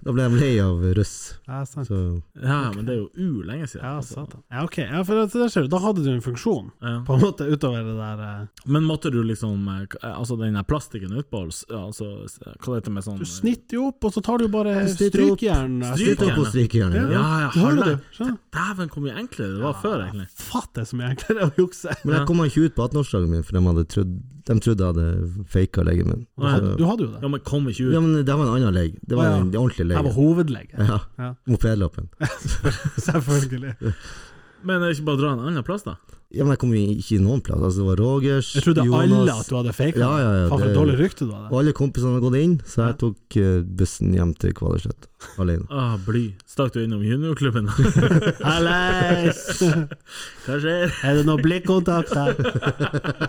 da ble de lei av russ.
Ja, sant.
Så
Ja, men det er jo u lenge siden. altså.
Ja, satan. Ja, ok. Ja, for det, der ser du, da hadde du en funksjon,
Ja.
på en måte, utover det der eh,
Men måtte du liksom eh, k- eh, Altså den der plastikken utpå ja, altså, s- Hva heter det med sånn
Du snitter jo opp, og så tar du bare
Du snitter opp.
strykjern. eh,
Stryk-
Stryk opp og stryk igjen.
Ja, ja,
Du hører
halve.
det, skjønner du? Ah,
Dæven, hvor mye enklere det var før, egentlig.
Fatt det som er enklere å jukse!
Men jeg kom meg ikke ut på 18-årsdagen min, for de, hadde trodd, de trodde jeg hadde faka legen min.
Å, ja.
Så-
Du hadde jo det.
Ja, men kom ikke ut.
Ja, men det var en annen leg. Det var
Å, ja.
en ordentlig
Jeg var
leg.
hovedlege,
Ja.
Ja.
Mopedlappen.
selvfølgelig.
Men er det ikke bare å dra en annen plass, da?
Ja, men jeg kom jo ikke i noen plass. Altså, det var Rogers,
Jeg trodde alle at du hadde faka.
Ja, ja, ja,
Faen, for et
det-
dårlig rykte du
Og
hadde.
alle kompisene hadde gått inn, så
Ja.
jeg tok eh, bussen hjem til Kvalerslett alene.
Ah, bly. Stakk du innom juniorklubben?
Hallais!
Hva skjer?
Er det noe blikkontakt her?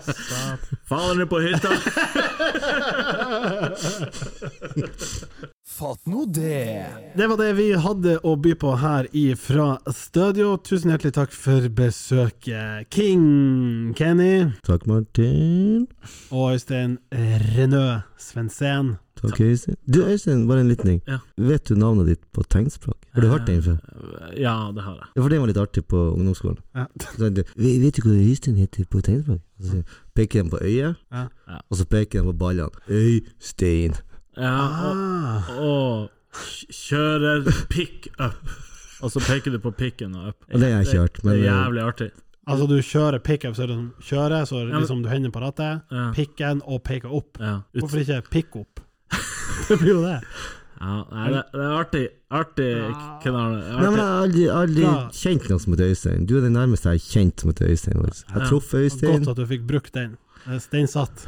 Satan.
Faller ned på hytta?
Fatt nå det!
Det var det vi hadde å by på her ifra studio. Tusen hjertelig takk for besøket, King Kenny
Takk, Martin.
og Øystein Renø Svendsen.
Takk, Øystein. Du, Øystein, bare en liten ting.
Ja.
Vet du navnet ditt på tegnspråk? Har du hørt den før?
Ja, det har jeg.
Ja, for det var litt artig på ungdomsskolen.
Ja.
Så jeg, «Ve- vet du hva Øystein heter på tegnspråk? Og så sier jeg, peker de på øyet,
Ja.
Ja.
og så peker de på ballene. Øystein.
Ja, og,
Ah.
og kj- kjører pick up. Og så peker du på picken og up.
Og det har jeg ikke hørt, men- eh,
Det er jævlig artig.
Altså, du kjører pickup, så er det som kjører, så er det
Ja, men-
liksom du hender på rattet.
Ja.
Picken og peker opp.
Ja, ut.
Hvorfor ikke pick opp? Det blir jo det.
ja nei, det, det er artig. Artig,
Ah.
Kenan. Det er
Nei, men jeg
artig.
har aldri, aldri
Bra.
kjent noen som heter Øystein. Du er den nærmeste jeg har kjent som heter Øystein. faktisk. Jeg
Ja.
traff Øystein.
Godt at du fikk brukt den. Eh, Den satt.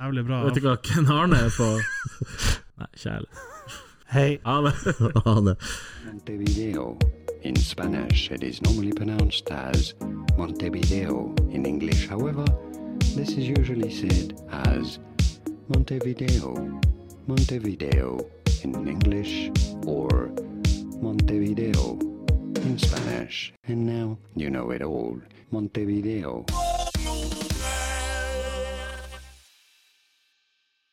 Jævlig bra.
Vet du hva Ken Arne er på? Nei, kjære.
Hei.
Ha det.
Ane.
Montevideo. In Spanish, it is normally pronounced as Montevideo. In English, however, this is usually said as Montevideo, Montevideo in English, or Montevideo in Spanish. And now you know it all. Montevideo.